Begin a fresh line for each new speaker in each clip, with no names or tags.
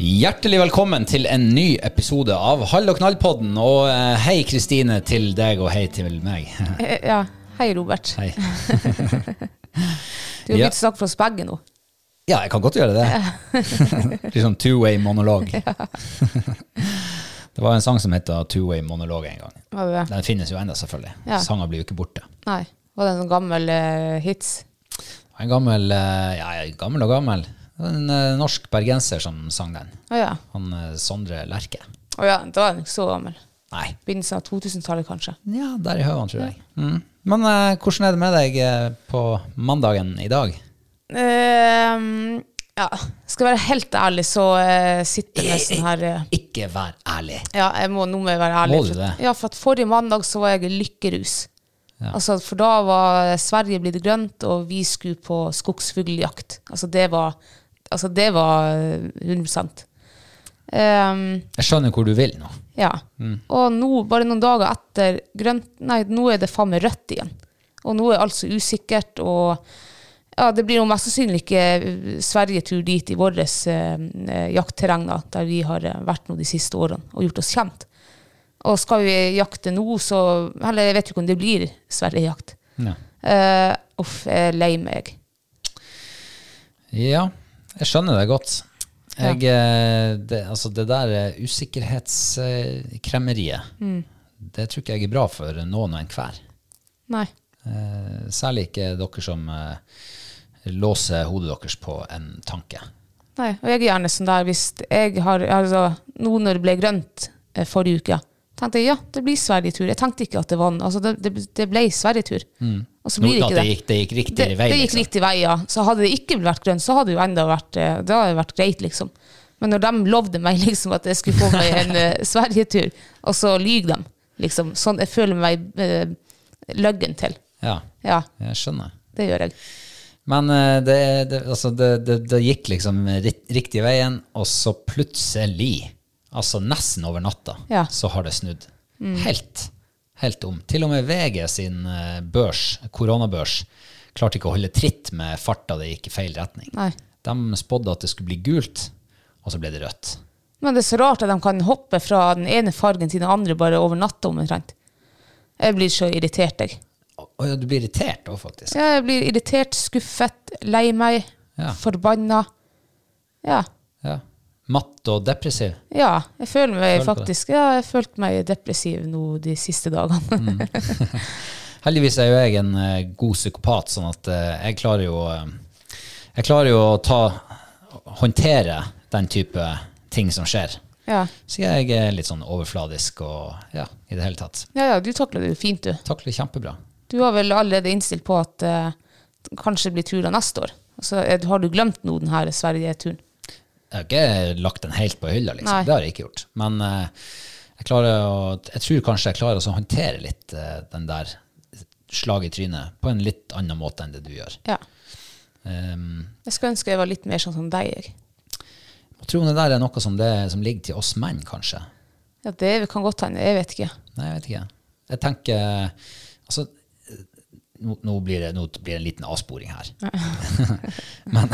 Hjertelig velkommen til en ny episode av Hall og knall-podden. Og eh, hei, Kristine, til deg, og hei til meg.
Eh, Ja. Hei, Robert.
Hei.
Du har
Ja.
begynt å snakke for oss begge nå.
Ja, jeg kan godt gjøre det. Litt sånn two-way monolog. Det var en sang som heter Two-way monolog en gang.
Var det det?
Den finnes jo ennå, selvfølgelig.
Ja.
Sanger blir jo ikke borte.
Nei. Var det en sånn gammel eh, hits?
En gammel eh, Ja, ja, gammel og gammel. En eh, norsk bergenser som sang den.
Å ja.
Han eh, Sondre Lerche.
Å ja, da er den ikke så gammel.
Nei,
Begynnelsen av 2000-tallet, kanskje.
ja, der i høvan, tror jeg. Mm. Men eh, hvordan er det med deg eh, på mandagen i dag?
Ehm, ja. Skal jeg være helt ærlig, så eh, sitter jeg nesten her eh,
Ikke vær ærlig.
Ja, jeg må nå må jeg være ærlig.
Må du
for at-
det?
Ja, for at forrige mandag så var jeg i lykkerus. Altså, for da var Sverige blitt grønt, og vi skulle på skogsfugljakt. Altså, det var, altså, det var 100 Ehm,
Jeg skjønner hvor du vil nå.
Ja. Og nå, bare noen dager etter grønt, Nei, nå er det faen meg rødt igjen. Og nå er alt så usikkert, og ja, det blir jo mest sannsynlig ikke eh, Sverige-tur dit i vårt jaktterreng, da, der vi har eh, vært nå de siste årene og gjort oss kjent. Og skal vi jakte nå, så Eller jeg vet jo ikke om det blir Sverige-jakt.
Ja.
Eh, uff, jeg er lei meg.
ja, jeg skjønner det godt. Jeg, eh, det, altså det der eh, usikkerhetskremmeriet,
Mm.
det tror ikke jeg er bra for noen og enhver.
Nei.
Eh, Særlig ikke dere som eh, låser hodet deres på en tanke.
Nei, og jeg er gjerne sånn der hvis jeg har altså, Nå når det ble grønt eh, forrige uke, tenkte jeg ja, det blir Sverige-tur. Jeg tenkte ikke at det var altså, det, det, det ble Sverige-tur. Og så
Mm. Nå,
blir det
at
ikke
det
det.
gikk, det gikk riktig
Det,
vei.
det gikk
liksom.
riktig vei, ja. Så hadde det ikke vært grønt, så hadde det jo enda vært, eh, det hadde vært greit, liksom. Men når de lovde meg liksom at jeg skulle få meg en eh, Sverige-tur, og så lyver de, liksom. Sånn, jeg føler meg eh, løggen til.
Ja,
Ja,
jeg skjønner.
det gjør jeg.
Men eh, det, det, altså det, det, det gikk liksom ri- riktig veien, og så plutselig, altså nesten over natta,
Ja. Mm.
så har det snudd. Helt, helt om. Til og med VG sin eh, børs, koronabørs, klarte ikke å holde tritt med farta det gikk i feil retning.
Nei.
De spådde at det skulle bli gult, og så ble det rødt.
Men det er så rart at de kan hoppe fra den ene fargen til den andre bare over natta omtrent. Jeg blir så irritert, jeg.
Og, og ja, du blir irritert òg, faktisk.
Ja, jeg blir irritert, skuffet, lei meg,
Ja.
forbanna. Ja.
Ja. Matt og depressiv.
ja. Jeg føler meg
Føler på det.
faktisk Ja, jeg følte meg depressiv nå de siste
Mm.
dagene.
Heldigvis er jo jeg en eh, god psykopat, sånn at eh, jeg klarer jo eh, Jeg klarer jo å ta, håndtere den type ting som skjer.
Ja.
Så jeg er litt sånn overfladisk og ja, i det hele tatt.
ja, ja, du takler det jo fint, du.
Takler kjempebra.
Du har vel allerede innstilt på at eh, kanskje det blir turer neste år. Så eh, har du glemt nå den her Sverige-turen?
Jeg har ikke lagt den helt på hylla, liksom.
Nei.
Det har jeg ikke gjort. Men eh, jeg, klarer å, jeg tror kanskje jeg klarer å håndtere litt eh, den der slag i trynet på en litt annen måte enn det du gjør.
Ja.
Um,
Jeg skulle ønske jeg var litt mer sånn som deg. jeg.
jeg tror det der er noe som, det, som ligger til oss menn, kanskje.
Ja, det kan godt hende. Jeg vet ikke.
Nei, jeg vet ikke. Jeg tenker Altså, nå, nå, blir, det, nå blir det en liten avsporing her. men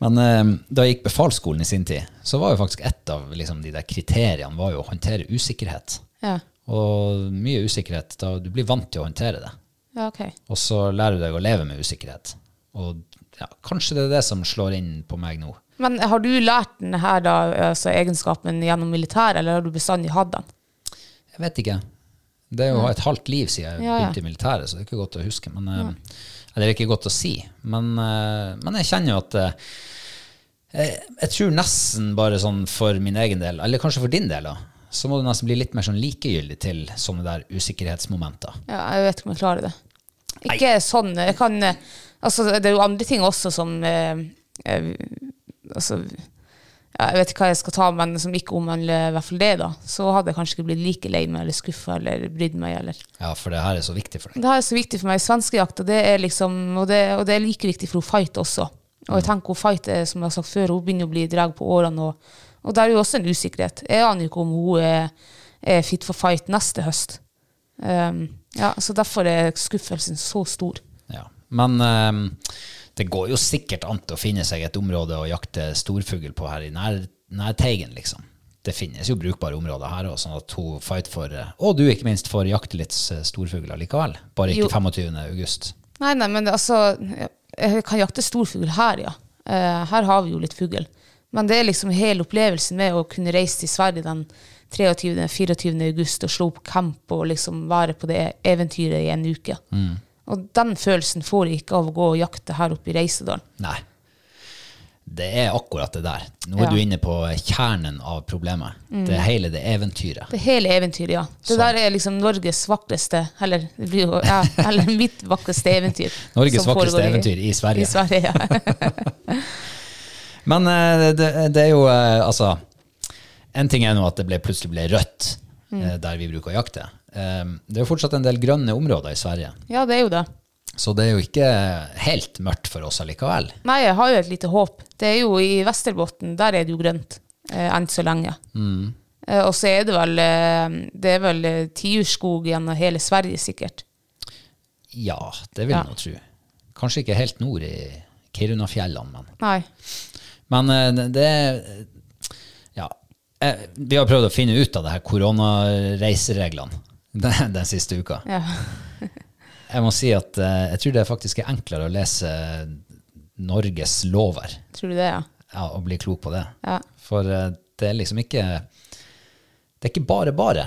men eh, da jeg gikk befalsskolen i sin tid, så var jo faktisk et av liksom, de der kriteriene var jo å håndtere usikkerhet.
Ja,
Og mye usikkerhet. Da, du blir vant til å håndtere det.
ja ok.
Og så lærer du deg å leve med usikkerhet. Og ja, kanskje det er det som slår inn på meg nå.
Men har du lært den her da, altså egenskapen gjennom militæret, eller har du bestandig hatt den?
Jeg vet ikke. Det er jo et halvt liv siden jeg
Ja, ja.
begynte i militæret, så det er ikke godt å huske. Men, eh, Eller det er ikke godt å si. Men, eh, men jeg kjenner jo at eh, jeg, jeg tror nesten bare sånn for min egen del, eller kanskje for din del, da, så må du nesten bli litt mer sånn likegyldig til sånne der usikkerhetsmomenter.
Ja, jeg vet ikke om jeg klarer det. Ikke sånn. Jeg kan eh, Altså, det er jo andre ting også som eh, eh, Altså ja, Jeg vet ikke hva jeg skal ta, men som ikke omhandler i hvert fall det, da. Så hadde jeg kanskje ikke blitt like lei meg eller skuffa eller brydd meg, eller
Ja, for det her er så viktig for deg.
Det her er så viktig for meg. Svenskejakt, og det er liksom og det, og det er like viktig for hun Fight også. Og jeg tenker hun Fight er, som jeg har sagt før, hun begynner å bli dreg på årene, og, og det er jo også en usikkerhet. Jeg aner jo ikke om hun er, er fit for fight neste høst. Um, ja, så derfor er skuffelsen så stor.
Ja. Men eh, det går jo sikkert an til å finne seg et område å jakte storfugl på her i nær, nærteigen, liksom. Det finnes jo brukbare områder her også, sånn at hun fight for eh, Og du, ikke minst, får jakte litt eh, storfugler likevel. Bare
Jo.
ikke 25. august.
Nei, nei, men altså Jeg kan jakte storfugl her, ja. Eh, her har vi jo litt fugl. Men det er liksom hele opplevelsen med å kunne reise til Sverige den 23. 24. august og slå opp camp og liksom være på det eventyret i en uke.
Mm.
Og den følelsen får jeg ikke av å gå og jakte her oppe i Reisedalen.
Nei. Det er akkurat det der. Nå er
Ja. Mm.
du inne på kjernen av problemet. Det er hele det eventyret.
Det hele eventyret, ja. Det
Sant.
der er liksom Norges vakreste, eller, det blir jo, ja, eller mitt vakreste eventyr.
Norges
som
vakreste
foregår
eventyr i Sverige.
I Sverige, ja.
Men eh, det, det er jo eh, altså En ting er nå at det ble, plutselig ble rødt eh, der vi bruker å jakte. Eh, Det er jo fortsatt en del grønne områder i Sverige,
ja, det er jo det.
så det er jo ikke helt mørkt for oss allikevel.
Nei, jeg har jo et lite håp. Det er jo i Vesterbotn, der er det jo grønt eh, enn så lenge.
Mm.
Eh, og så er det vel eh, Det er vel eh, tiurskog gjennom hele Sverige, sikkert.
Ja, det vil
Ja.
jeg nå tro. Kanskje ikke helt nord i Kirunafjellene, men
Nei.
Men eh, det Ja. eh, Vi har prøvd å finne ut av det her koronareisereglene den, den siste uka.
Ja.
Jeg må si at eh, jeg tror det faktisk er enklere å lese Norges lover
Tror du det, ja?
ja, og bli klok på det.
Ja.
For eh, det er liksom ikke Det er ikke bare bare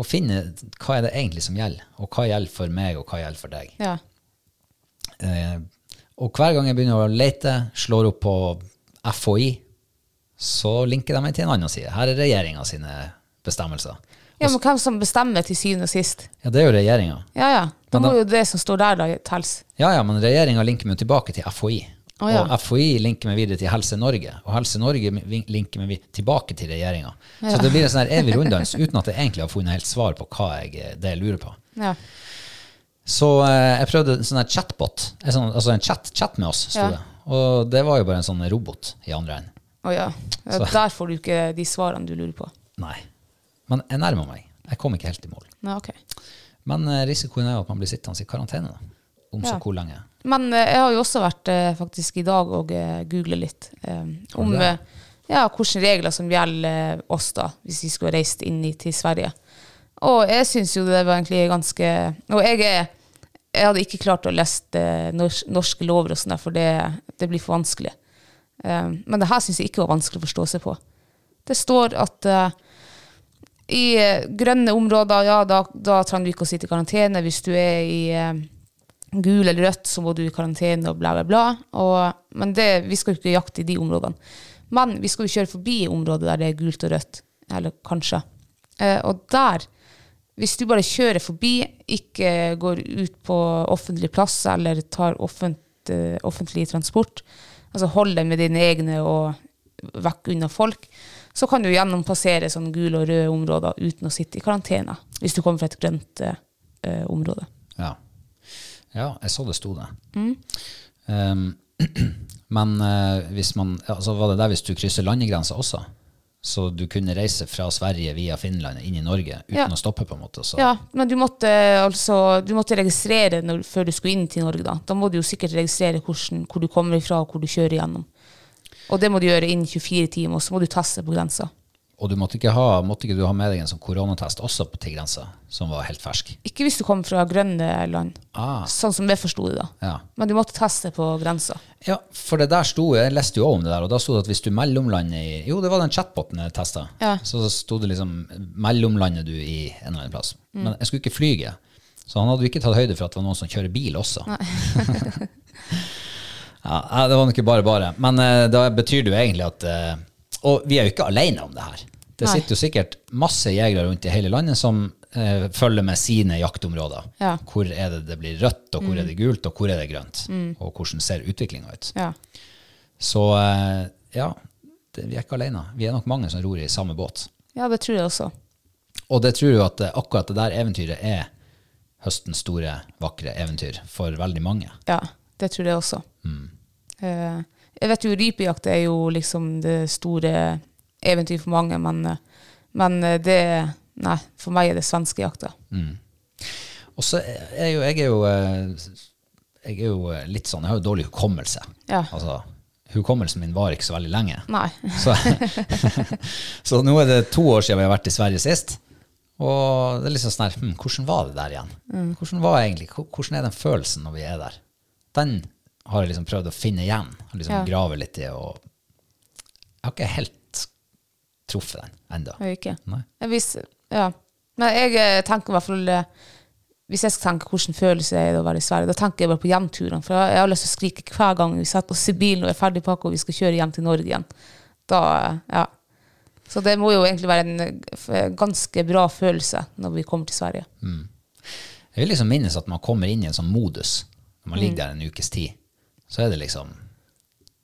å finne hva er det egentlig som gjelder, og hva gjelder for meg, og hva gjelder for deg.
ja.
Eh, og hver gang jeg begynner å lete, slår opp på FHI, så linker de meg til en annen side. Her er regjeringa sine bestemmelser.
ja men hvem som bestemmer til syvende og sist?
Ja, det er jo regjeringa.
Ja, ja. Da
Men da-
må jo det som står der, da, telles.
Ja, ja, men regjeringa linker meg jo tilbake til FHI.
Å, ja.
Og FHI linker meg videre til Helse Norge, og Helse Norge vin- linker meg vid- tilbake til regjeringa. Så det blir en sånn her evig runddans uten at jeg egentlig har funnet helt svar på hva jeg, eh, det jeg lurer på.
Ja.
Så eh, jeg prøvde en sånn her chatbot, en sånn, altså en chat, chat med oss, sto
Ja.
det. Og det var jo bare en sånn robot i andre enden.
Å ja. ja.
Så-
Der får du ikke de svarene du lurer på.
Nei. Men jeg nærmer meg. Jeg kom ikke helt i mål.
Nei, ok.
Men eh, risikoen er jo at man blir sittende i karantene, da. Om så
Ja.
hvor lenge.
Men eh, jeg har jo også vært eh, faktisk i dag og eh, googlet litt eh, om
du det?
eh, ja, hvilke regler som gjelder eh, oss da, hvis vi skulle reist inn i, til Sverige. Og jeg synes jo det var egentlig ganske Og jeg, er, jeg hadde ikke klart å lese eh, nors- norske lover og sånn, der, for det, det blir for vanskelig. Eh, men det her syns jeg ikke var vanskelig å forstå seg på. Det står at eh, i eh, grønne områder, ja, da, da trenger du ikke å sitte i karantene hvis du er i eh, gul eller rødt, så må du i karantene og bla, bla, bla. Og, men det, vi skal jo ikke jakte i de områdene. Men vi skal jo kjøre forbi området der det er gult og rødt. Eller kanskje. Eh, og der, hvis du bare kjører forbi, ikke går ut på offentlig plass eller tar offent, eh, offentlig transport, altså hold deg med dine egne og vekk unna folk, så kan du gjennompassere sånne gule og røde områder uten å sitte i karantene, hvis du kommer fra et grønt eh, eh, område.
Ja. ja, jeg så det sto det.
Mm.
Um, men eh, hvis man, altså var det der hvis du krysser landegrensa også? Så du kunne reise fra Sverige via Finland inn i Norge uten
Ja.
å stoppe? på en måte. Så.
Ja, men du måtte altså Du måtte registrere når, før du skulle inn til Norge, da. Da må du jo sikkert registrere hvordan, hvor du kommer ifra, og hvor du kjører gjennom. Og det må du gjøre innen 24 timer, og så må du teste på grensa.
Og du måtte ikke, ha, måtte ikke du ha med deg en sånn koronatest også på til grensa, som var helt fersk?
Ikke hvis du kommer fra grønne land,
Ah,
sånn som jeg forsto det, da.
ja.
Men du måtte teste på grensa.
ja, for det der sto, jeg leste jo også om det der, og da sto det at hvis du mellomlander i Jo, det var den chatboten jeg testa.
Ja.
Så sto det liksom mellomlander du i en eller annen plass.
Mm.
Men jeg skulle ikke flyge, så han hadde jo ikke tatt høyde for at det var noen som kjører bil også. ja, nei, det var nok ikke bare bare. Men eh, da betyr det jo egentlig at eh, Og vi er jo ikke alene om det her. Det
Nei.
sitter jo sikkert masse jegere rundt i hele landet som eh, følger med sine jaktområder.
Ja.
Hvor er det det blir rødt, og hvor er det gult, og hvor er det grønt? Og hvordan ser utviklinga ut?
Ja.
Så eh, ja, det, vi er ikke alene. Vi er nok mange som ror i samme båt.
ja, det tror jeg også.
Og det tror jeg at eh, akkurat det der eventyret er høstens store, vakre eventyr for veldig mange.
Ja, det tror jeg også.
Mm.
Eh, jeg vet jo rypejakt er jo liksom det store eventyr for mange, men, eh, men eh, det Nei, for meg er det svenskejakta.
Mm. Og så er jo, jeg er jo eh, Jeg er jo eh, litt sånn Jeg har jo dårlig hukommelse.
Ja.
Altså, hukommelsen min var ikke så veldig lenge.
Nei.
Så, så nå er det to år siden vi har vært i Sverige sist. Og det er liksom sånn her hm, Hvordan var det der igjen? Hvordan var egentlig, hvor- hvordan er den følelsen når vi er der? Den har jeg liksom prøvd å finne igjen. og Liksom
Ja.
Grave litt i og Jeg har ikke helt truffet den ennå.
Jeg ikke.
Nei.
Jeg vis- ja. Men jeg eh, tenker i hvert fall eh, Hvis jeg skal tenke hvordan følelse er det å være i Sverige, da tenker jeg bare på hjemturene. For jeg har lyst til å skrike hver gang vi setter oss i bilen og er ferdig pakka og vi skal kjøre hjem til Norge igjen. Da, eh, ja. Så det må jo egentlig være en eh, f- ganske bra følelse når vi kommer til Sverige.
Jeg vil liksom minnes at man kommer inn i en sånn modus når man ligger der en ukes tid. Så er det liksom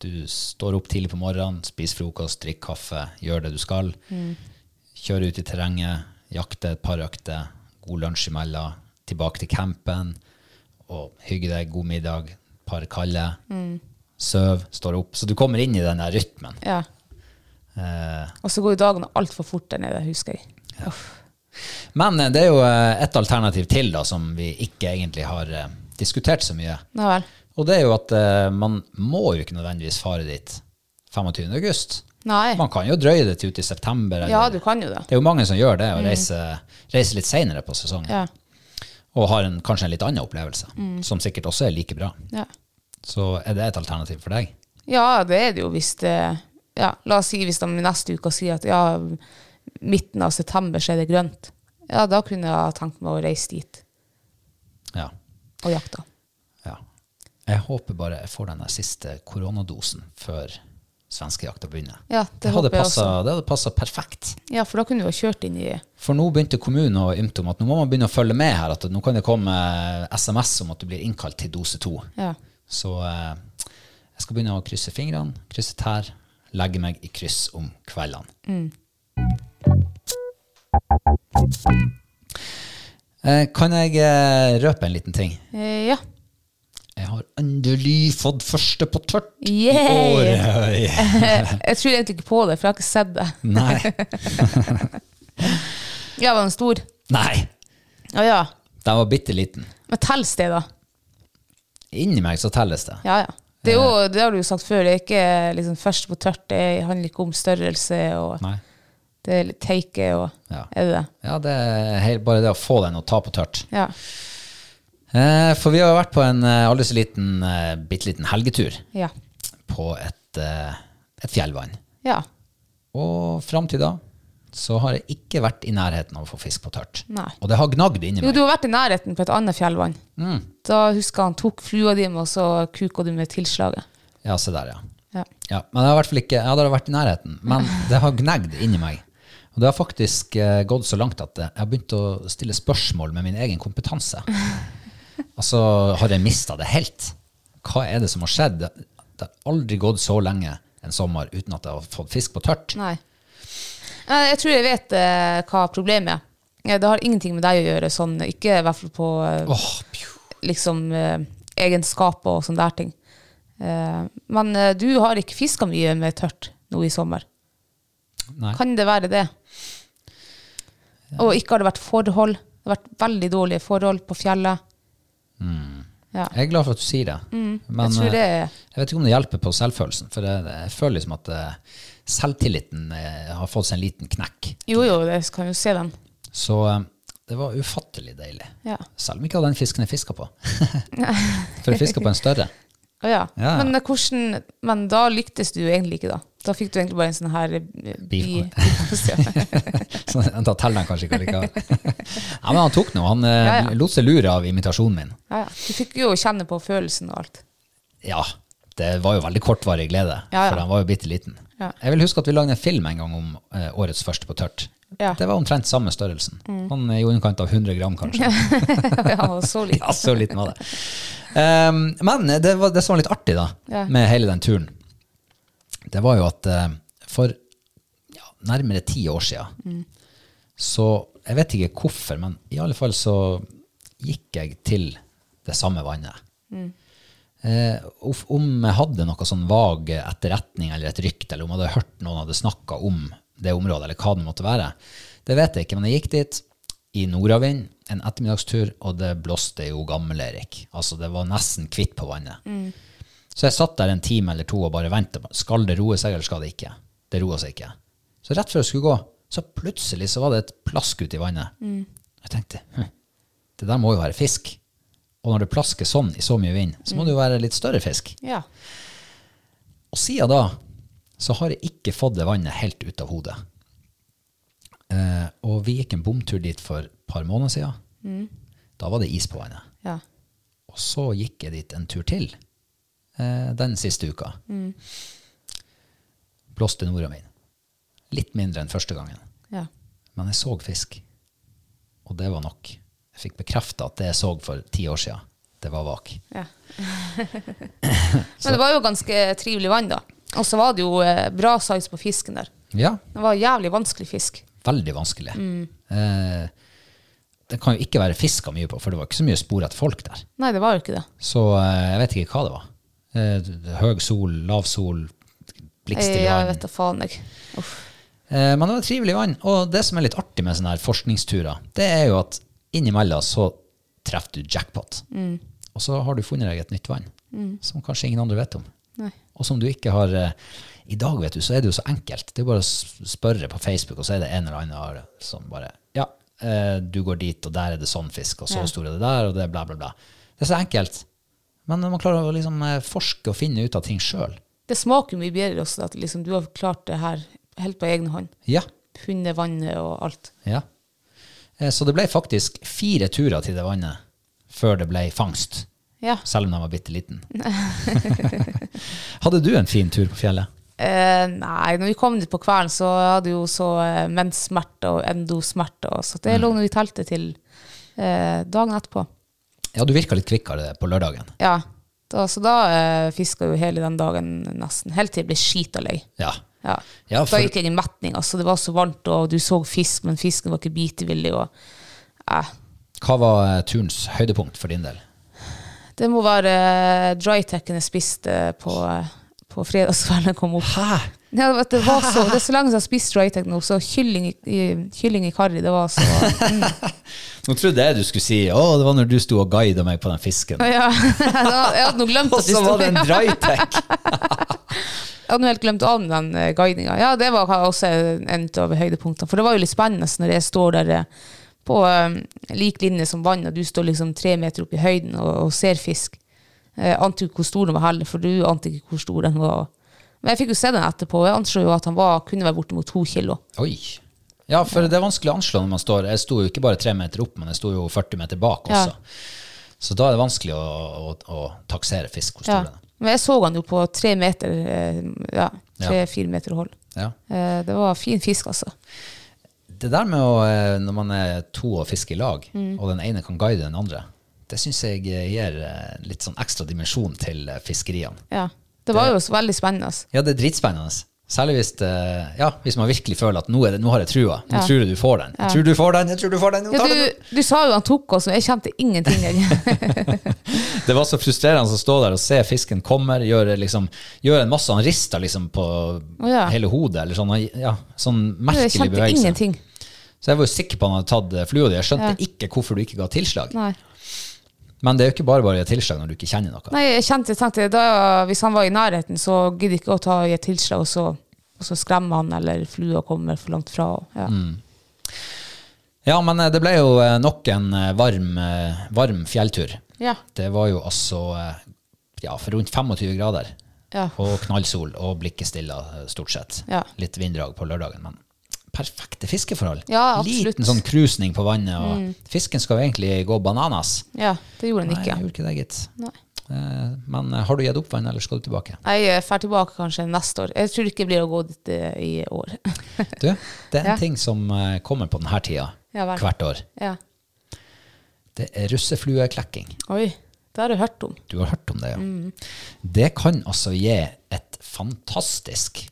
Du står opp tidlig på morgenen, spiser frokost, drikker kaffe, gjør det du skal. Kjører ut i terrenget, jakter et par økter, god lunsj imellom, tilbake til campen og hygge deg, god middag, par kalde, søv, står opp. Så du kommer inn i den der rytmen.
Ja.
Eh,
Og så går jo dagene altfor fort der nede, husker jeg. Uff.
men eh, det er jo eh, et alternativ til da, som vi ikke egentlig har eh, diskutert så mye.
Nei vel.
Og det er jo at eh, man må jo ikke nødvendigvis fare dit 25. august.
Nei.
Man kan jo drøye det til ut i september. eller-
Ja, du kan jo det.
Det er jo mange som gjør det, og reiser, reiser litt senere på sesongen.
Ja. Mm.
Og har en, kanskje en litt annen opplevelse, som sikkert også er like bra.
ja.
Så er det et alternativ for deg?
Ja, det er det jo hvis det ja, La oss si hvis de neste uke sier at ja, midten av september så er det grønt. Ja, da kunne jeg ha tenkt meg å reise dit
Ja.
og jakte.
ja. Jeg håper bare jeg får den der siste koronadosen før svenskejakta begynner.
Ja, det
hadde
håper jeg
passet- det hadde passa perfekt.
Ja, for da kunne du ha kjørt inn i
For nå begynte kommunen å ymte om at nå må man begynne å følge med her. At nå kan det komme SMS om at du blir innkalt til dose to.
Ja.
Så eh, jeg skal begynne å krysse fingrene, krysse tær, legge meg i kryss om kveldene. Eh, kan jeg eh, røpe en liten ting?
eh, Ja.
Jeg har endelig fått første på tørt i
Yay!
år.
Jeg tror egentlig ikke på det, for jeg har ikke sett det.
Nei.
Ja, var den stor?
Nei.
Ja, ja.
Den var bitte liten.
Men telles det, da?
Inni meg så telles det.
Ja, ja. Det, er jo, det har du jo sagt før, det er ikke liksom, først på tørt, det handler ikke om størrelse, og
Nei.
det er litt teike, og
Ja.
er det det?
Ja, det er helt, bare det å få den og ta på tørt.
Ja.
Eh, for vi har jo vært på en eh, aldri så liten, eh, bitte liten helgetur
Ja.
på et, eh, et fjellvann.
ja.
Og fram til da så har jeg ikke vært i nærheten av å få fisk på tørt.
Nei.
Og det har gnagd inni
Jo,
meg.
du har vært i nærheten på et annet fjellvann. Da husker jeg han tok flua di med, og så kuka du med tilslaget.
Ja, se der, ja.
Ja.
ja. Men jeg har i hvert fall ikke Jeg hadde vært i nærheten, men det har gnagd inni meg. Og det har faktisk eh, gått så langt at jeg har begynt å stille spørsmål med min egen kompetanse. Altså, har jeg mista det helt? Hva er det som har skjedd? Det det har aldri gått så lenge en sommer uten at jeg har fått fisk på tørt.
Nei. Eh, Jeg tror jeg vet eh, hva problemet er. Eh, Det har ingenting med deg å gjøre, sånn, ikke i hvert fall på eh,
Åh, pju.
liksom, eh, egenskaper og sånne der ting. Eh, men eh, du har ikke fiska mye med tørt nå i sommer.
Nei.
Kan det være det? Og ikke har det vært forhold. Det har vært veldig dårlige forhold på fjellet. Ja.
Jeg er glad for at du sier det. Mm. Men
Mm, jeg tror det
eh,
er
jeg vet ikke om det hjelper på selvfølelsen. For jeg, jeg føler liksom at eh, selvtilliten eh, har fått seg en liten knekk.
Jo, jo, det kan jo se den.
Så eh, det var ufattelig deilig.
Ja.
Selv om jeg ikke hadde den fisken jeg fiska på. for jeg fiska på en større.
Å ja.
Ja.
Men, eh, hvordan, men da lyktes du jo egentlig ikke, da. Da fikk du egentlig bare en sånn her eh, bi...
Bifang.
bifangst.
Så da teller han kanskje ikke likevel. Nei, men han tok noe. Han eh,
Ja, ja.
lot seg lure av imitasjonen min.
ja, ja. Du fikk jo kjenne på følelsen og alt.
Ja, det var jo veldig kortvarig glede,
Ja, ja.
for han var jo bitte liten.
Ja.
Jeg vil huske at vi lagde en film en gang om eh, årets første på tørt.
Ja. Mm.
Det var omtrent samme størrelsen. Han er i underkant av 100 gram, kanskje.
ja, og så litt.
ja, så liten var det. Ehm, men det, var, det som var litt artig da,
Ja.
med hele den turen, det var jo at eh, for ja, nærmere ti år siden,
Mm.
så jeg vet ikke hvorfor, men i alle fall så gikk jeg til det samme vannet. Eh, of- om jeg hadde noe sånn vag etterretning eller et rykte, eller om jeg hadde hørt noen hadde snakka om det området, eller hva det måtte være, det vet jeg ikke. Men jeg gikk dit i nordavind en ettermiddagstur, og det blåste jo Gammel-Erik. Altså, det var nesten kvitt på vannet. Så jeg satt der en time eller to og bare ventet. på, Skal det roe seg, eller skal det ikke? Det roa seg ikke. Så rett før jeg skulle gå, så plutselig så var det et plask ute i vannet. Jeg tenkte hm, det der må jo være fisk. Og når det plasker sånn i så mye vind, så må det jo være litt større fisk.
Ja.
Og siden da så har jeg ikke fått det vannet helt ut av hodet. Eh, og vi gikk en bomtur dit for et par måneder siden. Da var det is på vannet.
ja.
Og så gikk jeg dit en tur til eh, den siste uka. Blåste norda min. Litt mindre enn første gangen.
ja.
Men jeg så fisk. Og det var nok. Jeg fikk bekrefta at det jeg så for ti år siden, det var vak.
ja. Men det var jo ganske trivelig vann, da. Og så var det jo eh, bra size på fisken der.
Ja,
Det var jævlig vanskelig fisk.
veldig vanskelig. Eh, det kan jo ikke være fiska mye på, for det var ikke så mye spor etter folk der.
Nei, det var jo ikke det.
Så eh, jeg vet ikke hva det var. Eh, høg sol, lav sol,
Jeg,
blikkstille
Eh, jeg
vann.
vet da faen, jeg. Uff.
Eh, Men det var trivelig vann. Og det som er litt artig med sånne her forskningsturer, det er jo at innimellom så treffer du jackpot.
Mm.
Og så har du funnet deg et nytt vann som kanskje ingen andre vet om.
Nei.
Og som du ikke har eh, I dag vet du, så er det jo så enkelt. Det er jo bare å s- spørre på Facebook, og så er det en eller annen som bare Ja, eh, du går dit, og der er det sånn fisk, og så
Ja.
stor er det der, og det er bla, bla, bla. Det er så enkelt. Men man klarer å liksom eh, forske og finne ut av ting sjøl.
Det smaker jo mye bedre også at liksom, du har klart det her helt på egen hånd.
Ja.
Funnet vannet og alt.
Ja. Eh, Så det ble faktisk fire turer til det vannet før det ble fangst,
Ja.
selv om jeg var bitte liten. Hadde du en fin tur på fjellet?
Eh, nei, når vi kom dit på kvelden, så hadde jo så eh, menssmerter og endosmerter. og Så det lå nå i teltet til eh, dagen etterpå.
Ja, du virka litt kvikkere på lørdagen.
Ja, da, så da eh, fiska jo hele den dagen nesten. Helt til jeg ble skita lei.
Ja.
Ja.
Ja, for-
Da gikk jeg i metning. Altså, det var så varmt, og du så fisk, men fisken var ikke bitevillig. Og, eh,
Hva var eh, turens høydepunkt for din del?
det må være eh, drytekken jeg spiste på, eh, på fredagskvelden jeg kom opp.
Hæ?
Ja, vet du, det, var så, det er så lenge siden jeg har spist drytek nå, så kylling i, i, kylling i karri, det var så
Nå trodde jeg du skulle si å, det var når du sto og guida meg på den fisken.
Ja, jeg hadde nå glemt
Og
at du
så var
stod
det en
Jeg
drytech!
hadde nå helt glemt av den eh, guidinga. Ja, det var også en av høydepunktene. For det var jo litt spennende når jeg står der eh, på eh, lik linje som vann, og du står liksom tre meter opp i høyden og, og ser fisk. Jeg ante jo ikke hvor stor den var heller, for du ante ikke hvor stor den var. Men jeg fikk jo se den etterpå, og jeg anså jo at han var, kunne være bortimot to kilo.
Oi. Ja, for det er vanskelig å anslå når man står Jeg sto jo ikke bare tre meter opp, men jeg sto jo 40 meter bak
Ja.
også. Så da er det vanskelig å, å, å taksere fisk. Hvor stor
Ja.
den er.
Men jeg så han jo på tre meter, eh, ja, tre-fire meter hold.
Ja.
Eh, Det var fin fisk, altså.
Det der med å, eh, når man er to og fisker i lag,
Mm.
og den ene kan guide den andre, det syns jeg eh, gir eh, litt sånn ekstra dimensjon til eh, fiskeriene.
Ja. Det var jo så veldig spennende. altså.
Ja, det er dritspennende. Særlig hvis, det, ja, hvis man virkelig føler at nå, er det, nå har jeg trua. Nå tror jeg du får den. Jeg tror du får den, jeg tror du får den. Nå
Ja,
tar vi den.
du, du sa jo han tok oss, men jeg kjente ingenting. Jeg.
Det var så frustrerende å stå der og se fisken kommer, gjøre liksom, gjør en masse Han rister liksom på
Å ja.
hele hodet, eller sånn, ja, sånn
jeg
merkelig
kjente
bevegelse.
ingenting.
Så jeg var jo sikker på han hadde tatt eh, flua di. Jeg skjønte
Ja.
ikke hvorfor du ikke ga tilslag.
Nei.
Men det er jo ikke bare bare å gi tilslag når du ikke kjenner noe.
Nei, jeg kjente, tenkte da, Hvis han var i nærheten, så gidder jeg ikke å ta i et tilslag, og så, og så skremmer han, eller flua kommer for langt fra. og- Ja.
Mm. Ja, men eh, det ble jo eh, nok en eh, varm, eh, varm fjelltur.
Ja.
Det var jo altså eh, ja, for rundt 25 grader
Ja.
og knallsol og blikket stilla eh, stort sett.
Ja.
Litt vinddrag på lørdagen, men perfekte fiskeforhold.
Ja, absolutt.
Liten sånn krusning på vannet, og fisken skal jo egentlig gå bananas.
ja, det gjorde han
Nei, jeg
ikke.
gjorde ikke det, gitt.
Nei.
Eh, Men eh, har du gitt opp vann, eller skal du tilbake?
Jeg drar tilbake kanskje neste år. Jeg tror ikke jeg blir å gå dit eh, i år.
Du, det er en
Ja.
ting som eh, kommer på denne tida
Ja vel.
hvert år.
ja.
Det er russeflueklekking.
Oi, det har jeg hørt om.
Du har hørt om det, ja.
Mm.
Det kan altså gi et fantastisk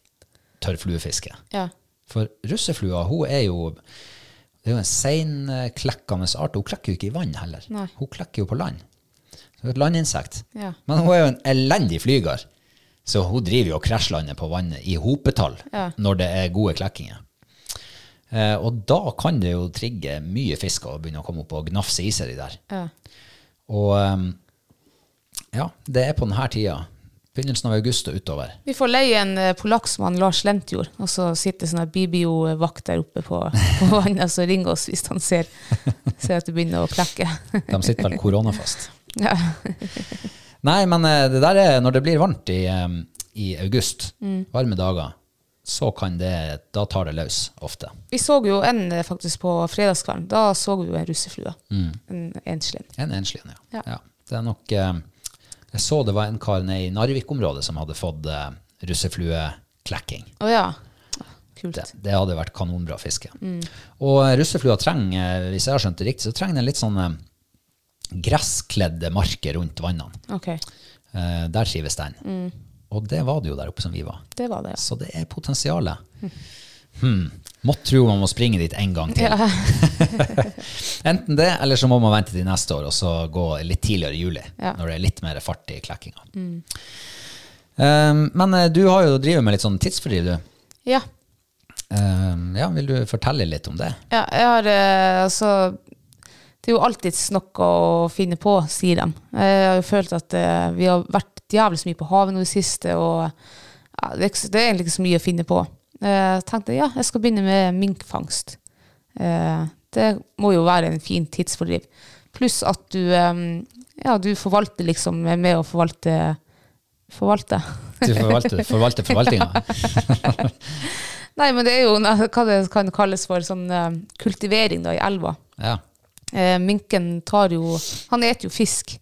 tørrfluefiske.
Ja.
For russeflua, hun er jo det er jo en seinklekkende art. Hun klekker jo ikke i vann heller.
Nei.
Hun klekker jo på land. Så det er et landinsekt.
Ja.
Men hun er jo en elendig flyger. Så hun driver jo og krasjlander på vannet i hopetall
Ja.
når det er gode klekkinger. Eh, og da kan det jo trigge mye fisk å begynne å komme opp og gnafse i seg de der.
Ja.
Og eh, ja, det er på denne tida. Begynnelsen av august og utover.
Vi får leie en eh, polakk som han Lars Lentjord, og så sitter sånn Bibio-vakt der oppe på, på vannet, og så ringer oss hvis han ser, ser at det begynner å klekke.
De sitter vel koronafast.
ja.
Nei, men eh, det der er når det blir varmt i, eh, i august, varme dager, så kan det, da tar det løs ofte.
Vi så jo en eh, faktisk på fredagskvelden. Da så vi jo en russeflue. En enslig.
En enslig en, ja.
Ja.
ja. Det er nok eh, Jeg så det var en kar nede i Narvik-området som hadde fått eh, russeflueklekking.
Å ja. Kult.
Det, det hadde vært kanonbra fiske. Og eh, russeflua trenger, eh, hvis jeg har skjønt det riktig, så trenger den litt sånn eh, gresskledde marker rundt vannene.
Ok,
Eh, der trives den. Og det var det jo der oppe som vi var.
det var det. altså. ja.
Så det er potensialet. Hmm. Måtte tro man må springe dit en gang til. Enten det, eller så må man vente til neste år og så gå litt tidligere i juli,
Ja. Mm.
når det er litt mer fart i klekkinga. Um, men eh, du har jo drevet med litt sånn tidsfordriv, du.
Ja.
Um, ja, vil du fortelle litt om det?
ja. Jeg har eh, altså Det er jo alltids noe å finne på, sier de. Jeg har jo følt at eh, vi har vært jævlig så mye på havet nå i det siste, og ja, det, er ikke, så- det er egentlig ikke så mye å finne på. Eh, Jeg tenkte ja, jeg skal begynne med minkfangst. Eh, Det må jo være en fin tidsfordriv. Pluss at du, eh, ja, du forvalter liksom med å forvalte Forvalte.
Du forvalter, forvalter forvaltinga?
Nei, men det er jo ne- hva det kan kalles for sånn eh, kultivering da, i elva.
Ja.
Eh, minken tar jo Han eter jo fisk.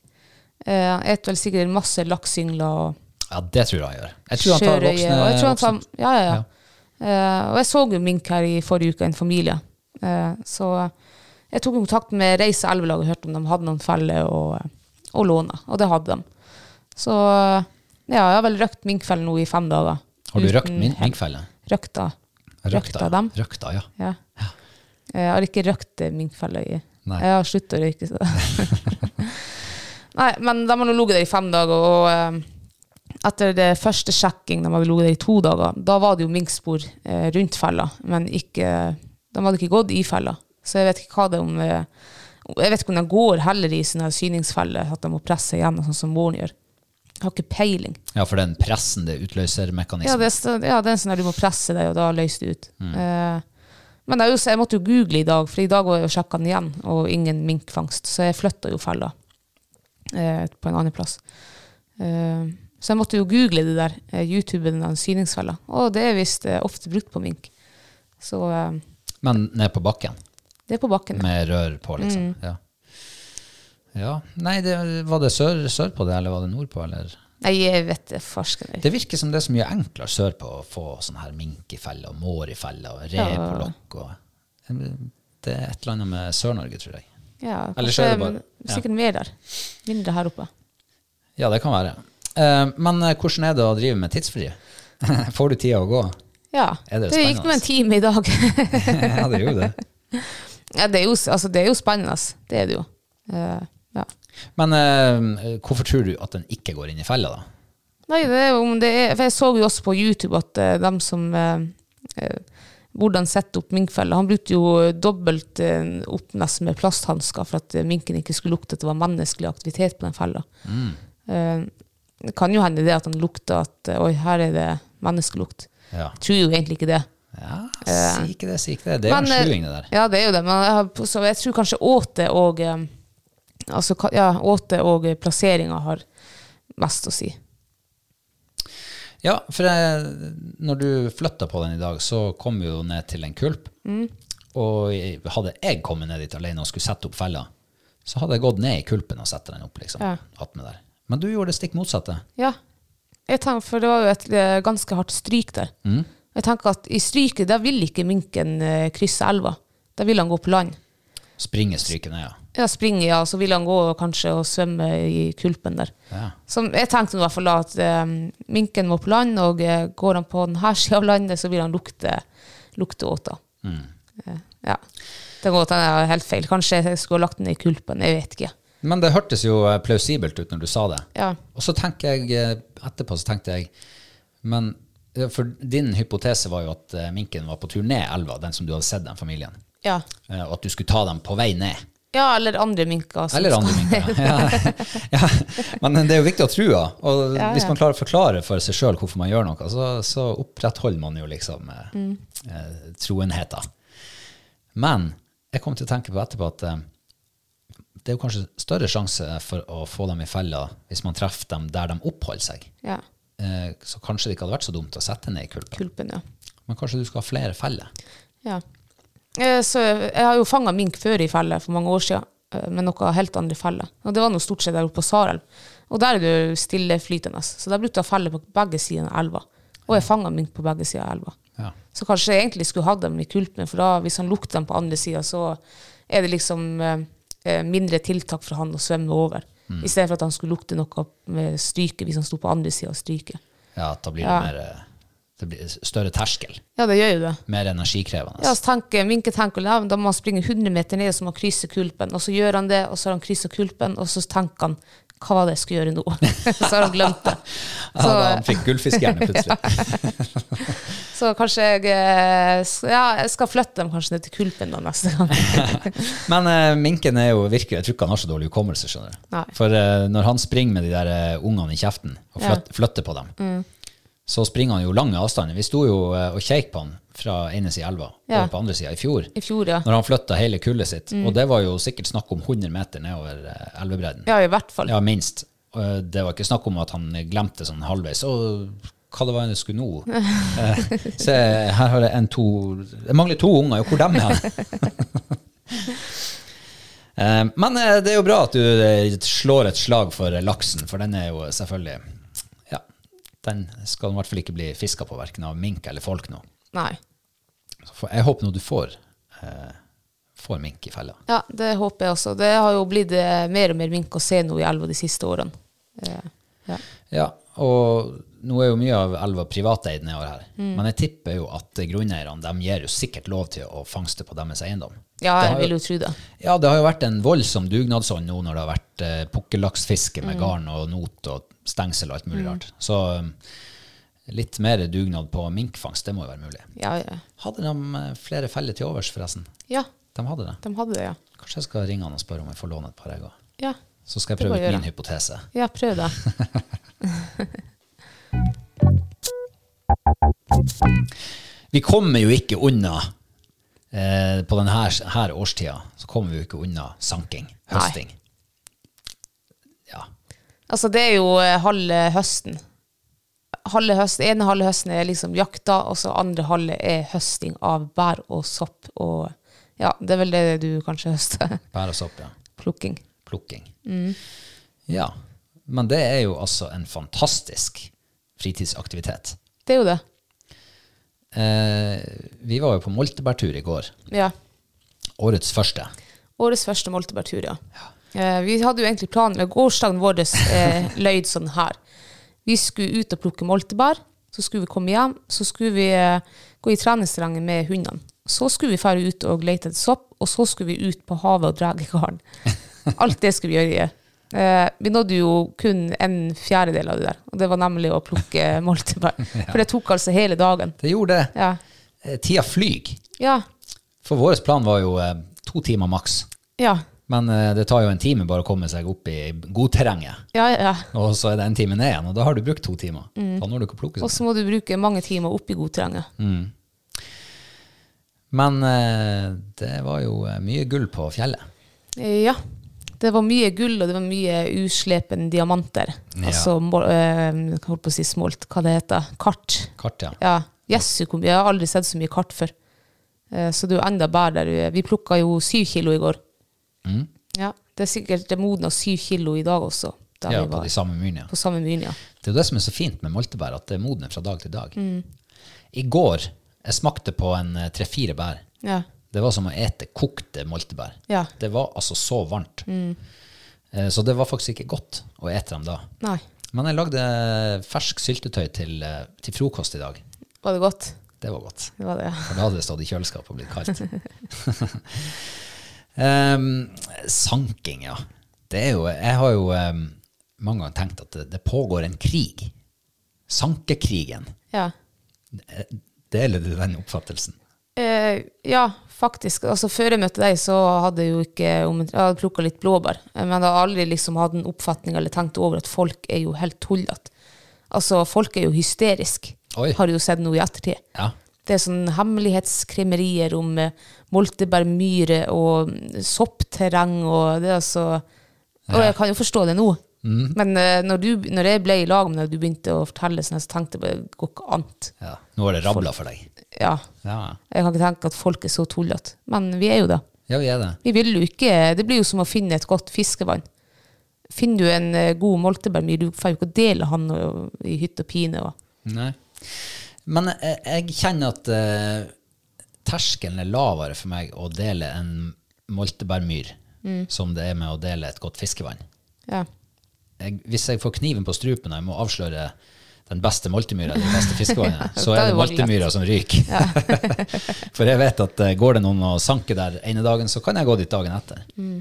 Eh, Han eter vel sikkert masse lakseyngler og
ja, det tror jeg han gjør. Jeg tror han tar
sjørøye. Og
voksne,
jeg tror han tar,
voksne
ja, ja, ja. Eh, og jeg så jo mink her i forrige uke, en familie. Eh, så jeg tok kontakt med Reise Elvelag og hørte om de hadde noen feller og, og låner, og det hadde de. Så ja, jeg har vel røkt minkfellen nå i fem dager.
Har du
Uten
røkt min- minkfelle?
Røkta. Røkta dem.
Røkta, ja.
Ja. Jeg har ikke røkt eh, minkfeller i
Nei.
Jeg har sluttet å røyke, så Nei, men de har nå ligget der i fem dager, og eh, etter det første sjekking, de hadde ligget der i to dager, da var det jo minkspor eh, rundt fella, men ikke, de hadde ikke gått i fella. Så jeg vet ikke hva det er om eh, Jeg vet ikke om de går heller i sånne her syningsfeller, at de må presse igjennom, sånn som våren gjør. Jeg har ikke peiling.
Ja, for den pressen, det utløser mekanismen.
Ja, det, er så- ja, det er en sånn der du må presse deg, og da løser det ut.
Mm.
Eh, men det er jo, så jeg måtte jo google i dag, for i dag var jeg og sjekka den igjen, og ingen minkfangst. Så jeg flytta jo fella eh, på en annen plass. Eh, så jeg måtte jo google det der, eh, YouTube den der syningsfella. Og det er visst eh, ofte brukt på mink. Så eh,
Men ned på bakken,
Det er på bakken.
med rør på, liksom.
Mm.
Ja. ja. Nei, det, var det sør, sørpå det, eller var det nordpå, eller?
Nei, jeg vet det, farsken.
Det virker som det er så mye enklere sørpå å få sånn her mink i felle, og mår i felle, og re
Ja.
på lokk, og Det er et eller annet med Sør-Norge, tror jeg.
Ja,
Eller
kanskje,
så er det bare-
men
ja.
Sikkert mer der. Mindre her oppe.
Ja, det kan være. Eh, men eh, hvordan er det å drive med tidsfri? Får du tida å gå?
Ja.
Er det
det gikk nå
spennende? altså.
en time i dag.
ja, det gjorde det.
ja, det, er jo, altså, det er jo spennende. Det er det jo. Eh, ja.
Men eh, hvorfor tror du at den ikke går inn i fella, da?
Nei, det er jo om det er For jeg så jo også på YouTube at eh, dem som eh, eh, Hvordan sette opp minkfeller. Han brukte jo dobbelt eh, opp nesten med plasthansker for at eh, minken ikke skulle lukte at det var menneskelig aktivitet på den fella. Eh, det kan jo hende det at han lukta at eh, Oi, her er det menneskelukt.
Ja,
Jeg tror jo egentlig ikke det.
ja si ikke det, si ikke det. Det er jo
Men, eh,
en sluing, det der.
Ja, det er jo det. Men jeg, har- så jeg tror kanskje åte og eh, Altså, ka- ja, åte og plasseringa har mest å si.
Ja, for jeg, når du flytta på den i dag, så kom vi jo ned til en kulp. Og jeg- hadde jeg kommet ned dit alene og skulle sette opp fella, så hadde jeg gått ned i kulpen og satt den opp, liksom.
Ja.
Attmed der. Men du gjorde det stikk motsatte.
Ja. Jeg tenker, for det var jo et eh, ganske hardt stryk der.
Mm.
Jeg tenker at i stryket, der vil ikke minken eh, krysse elva. Da vil han gå på land.
Springe stryket ned, ja.
Ja, springe, ja, så vil han gå kanskje og svømme i kulpen der.
ja.
Som jeg tenkte nå i hvert fall da, at eh, minken må på land, og eh, går han på denne sida av landet, så vil han lukte, lukte åta.
Mm.
Eh, ja. Det kan godt hende jeg har helt feil. Kanskje jeg skulle ha lagt den i kulpen, jeg vet ikke.
Men det hørtes jo eh, plausibelt ut når du sa det.
Ja.
Og så tenker jeg eh, etterpå så tenkte jeg Men ja, for din hypotese var jo at eh, minken var på tur ned elva, den som du hadde sett den familien,
Ja.
eh, og at du skulle ta dem på vei ned.
ja, eller andre minker. som
Eller andre
skal-
minker. Ja. Ja. Men det er jo viktig å tro, da. Og
Ja,
hvis
ja.
man klarer å forklare for seg sjøl hvorfor man gjør noe, så, så opprettholder man jo liksom eh,
Mm.
eh, troenheten. Men jeg kom til å tenke på etterpå at eh, det er jo kanskje større sjanse for å få dem i fella hvis man treffer dem der de oppholder seg.
Ja,
Eh, så kanskje det ikke hadde vært så dumt å sette ned i kulpen.
kulpen, ja.
Men kanskje du skal ha flere feller.
Ja. Eh, Så jeg har jo fanga mink før i felle for mange år siden, eh, med noe helt andre feller. Og det var nå stort sett der oppe på Sarelv. Og der er det jo stilleflytende. Så der brukte jeg felle på begge sider av elva. Og jeg fanga mink på begge sider av elva.
Ja.
Så kanskje jeg egentlig skulle hatt dem i kulpen, for da, hvis han lukter dem på andre sida, så er det liksom eh, eh, mindre tiltak for han å svømme over. I stedet for at han skulle lukte noe med stryket hvis han sto på andre sida av stryket.
Ja, at da blir
Ja.
det mer eh, det blir større terskel.
Ja, det gjør jo det.
Mer energikrevende.
Ja, så tenker Minke tenker ja, men da må han springe 100 meter ned, og så må han krysse kulpen. Og så gjør han det, og så har han kryssa kulpen, og så tenker han hva var det jeg skulle gjøre nå? så har han glemt det.
Ja, da han fikk gullfiskhjerne plutselig.
Så kanskje jeg, eh, s- ja, jeg skal flytte dem kanskje ned til kulpen da neste gang.
Men eh, minken er jo virkelig Jeg tror ikke han har så dårlig hukommelse. skjønner du.
Nei.
For eh, når han springer med de der eh, ungene i kjeften og flyt, flytter på dem,
Mm.
så springer han jo lange avstander. Vi sto jo eh, og kjekk på han fra ene sida av elva
Ja.
over på andre sida i fjor.
I fjor, ja.
Når han flytta hele kullet sitt. Og det var jo sikkert snakk om 100 meter nedover eh, elvebredden.
Ja, i hvert fall.
Ja, minst. Eh, Det var ikke snakk om at han glemte sånn halvveis. Og hva det var jeg skulle nå? Eh, Se, her har jeg en, to Jeg mangler to unger, jo, hvor dem er han? Eh, Men eh, det er jo bra at du eh, slår et slag for laksen, for den er jo selvfølgelig Ja, den skal i hvert fall ikke bli fiska på, verken av mink eller folk nå.
Nei.
Så får- Jeg håper nå du får, eh, får mink i fella.
Ja, det håper jeg også. Det har jo blitt eh, mer og mer mink å se nå i elva de siste årene. Eh, Ja.
Ja, og nå er jo mye av elva privateid nedover her.
Mm.
Men jeg tipper jo at grunneierne de gir jo sikkert lov til å fangste på deres eiendom.
ja,
Det
jeg
har
vil
jo-
jo tro det.
Ja, det har jo vært en voldsom dugnadsånd nå når det har vært eh, pukkellaksfiske
Mm.
med garn og not og stengsel og alt mulig rart. Så um, litt mer dugnad på minkfangst, det må jo være mulig.
Ja, ja.
Hadde de eh, flere feller til overs, forresten?
ja,
De hadde det.
de hadde det, ja.
Kanskje jeg skal ringe han og spørre om jeg får låne et par egg òg.
Ja,
Så skal jeg
Det må
prøve
jeg
ut min
gjøre.
hypotese.
ja prøv det.
Vi kommer jo ikke unna eh, På denne her, her årstida så kommer vi jo ikke unna sanking, høsting. Ja.
Altså, det er jo eh, halve høsten. halve høst, ene halve høsten er liksom jakta, og så andre halve er høsting av bær og sopp. Og ja, det er vel det du kanskje høster.
Bær og sopp, ja.
Plukking.
Plukking. Ja. Men det er jo altså en fantastisk fritidsaktivitet.
Det er jo det.
Eh, vi var jo på moltebærtur i går.
Ja.
Årets første.
Årets første moltebærtur, ja. Eh, vi hadde jo egentlig planen, eller gårsdagen vår eh, løyd sånn her. Vi skulle ut og plukke moltebær, så skulle vi komme hjem, så skulle vi eh, gå i treningsterrenget med hundene. Så skulle vi fære ut og lete etter sopp, og så skulle vi ut på havet og drage garn. Alt det skulle vi gjøre. Eh, vi nådde jo kun en fjerdedel av det der, og det var nemlig å plukke moltebær. For det tok altså hele dagen.
Det gjorde det.
Ja.
Eh, tida flyg.
Ja.
For vår plan var jo eh, to timer maks.
Ja.
Men eh, det tar jo en time bare å komme seg opp i godterrenget.
Ja, ja, ja.
Og så er det en time ned igjen, og da har du brukt to timer. Da når du ikke å plukke
Mm. Og
sånn.
så må du bruke mange timer opp i godterrenget.
Men eh, det var jo eh, mye gull på fjellet.
Eh, Ja. Det var mye gull, og det var mye uslepen diamanter.
Ja.
Altså må- eh, jeg holdt på å si smolt, hva det heter. Kart.
Kart, ja.
Ja. Jesu, hvor mye- jeg har aldri sett så mye kart før. Eh, Så det er jo enda bær der. Vi plukka jo syv kilo i går.
Mm.
Ja, Det er sikkert det modna syv kilo i dag også, der
Ja,
vi
på
var
de samme myrene.
på samme myr. Ja.
Det er jo det som er så fint med moltebær, at det modner fra dag til dag.
Mm.
I går jeg smakte på en eh, tre-fire bær.
Ja.
Det var som å ete kokte moltebær.
Ja. Mm.
Det var altså så varmt. Eh, Så det var faktisk ikke godt å ete dem da.
Nei,
Men jeg lagde fersk syltetøy til, eh, til frokost i dag.
var det godt?
Det var godt.
Det var det, ja.
For da hadde det stått i kjøleskapet og blitt kaldt. Em, sanking, ja. Det er jo, jeg har jo em, mange ganger tenkt at det, det pågår en krig. Sankekrigen.
ja.
Deler du den oppfattelsen?
Eh, ja, faktisk. Altså, før jeg møtte deg, så hadde jeg jo ikke om- Jeg hadde plukka litt blåbær, eh, men jeg har aldri liksom hatt en oppfatning eller tenkt over at folk er jo helt tullete. Altså, folk er jo hysteriske,
Oi.
har jeg jo sett nå i ettertid.
Ja.
Det er sånn hemmelighetskrimerier om eh, moltebærmyrer og mm, soppterreng og det er altså Og jeg kan jo forstå det nå, men eh, når, du, når jeg ble i lag med deg, og du begynte å fortelle sånn, så tenkte jeg bare det går ikke an.
ja. Nå har det rabla for deg.
Ja.
Ja.
Jeg kan ikke tenke at folk er så tullete, men vi er jo det.
ja, vi er det.
Vi vil jo ikke, Det blir jo som å finne et godt fiskevann. Finner du en eh, god moltebærmyr, du får jo ikke dele han og- i hytt og pine. Og.
Nei. Men jeg, jeg kjenner at eh, terskelen er lavere for meg å dele en moltebærmyr som det er med å dele et godt fiskevann.
Ja.
Jeg, hvis jeg får kniven på strupen og jeg må avsløre den beste moltemyra, det beste fiskevannet, så
Da er
er det
det valgt.
moltemyra som ryker. for jeg vet at eh, går det noen og sanker der ene dagen, så kan jeg gå dit dagen etter.
Mm.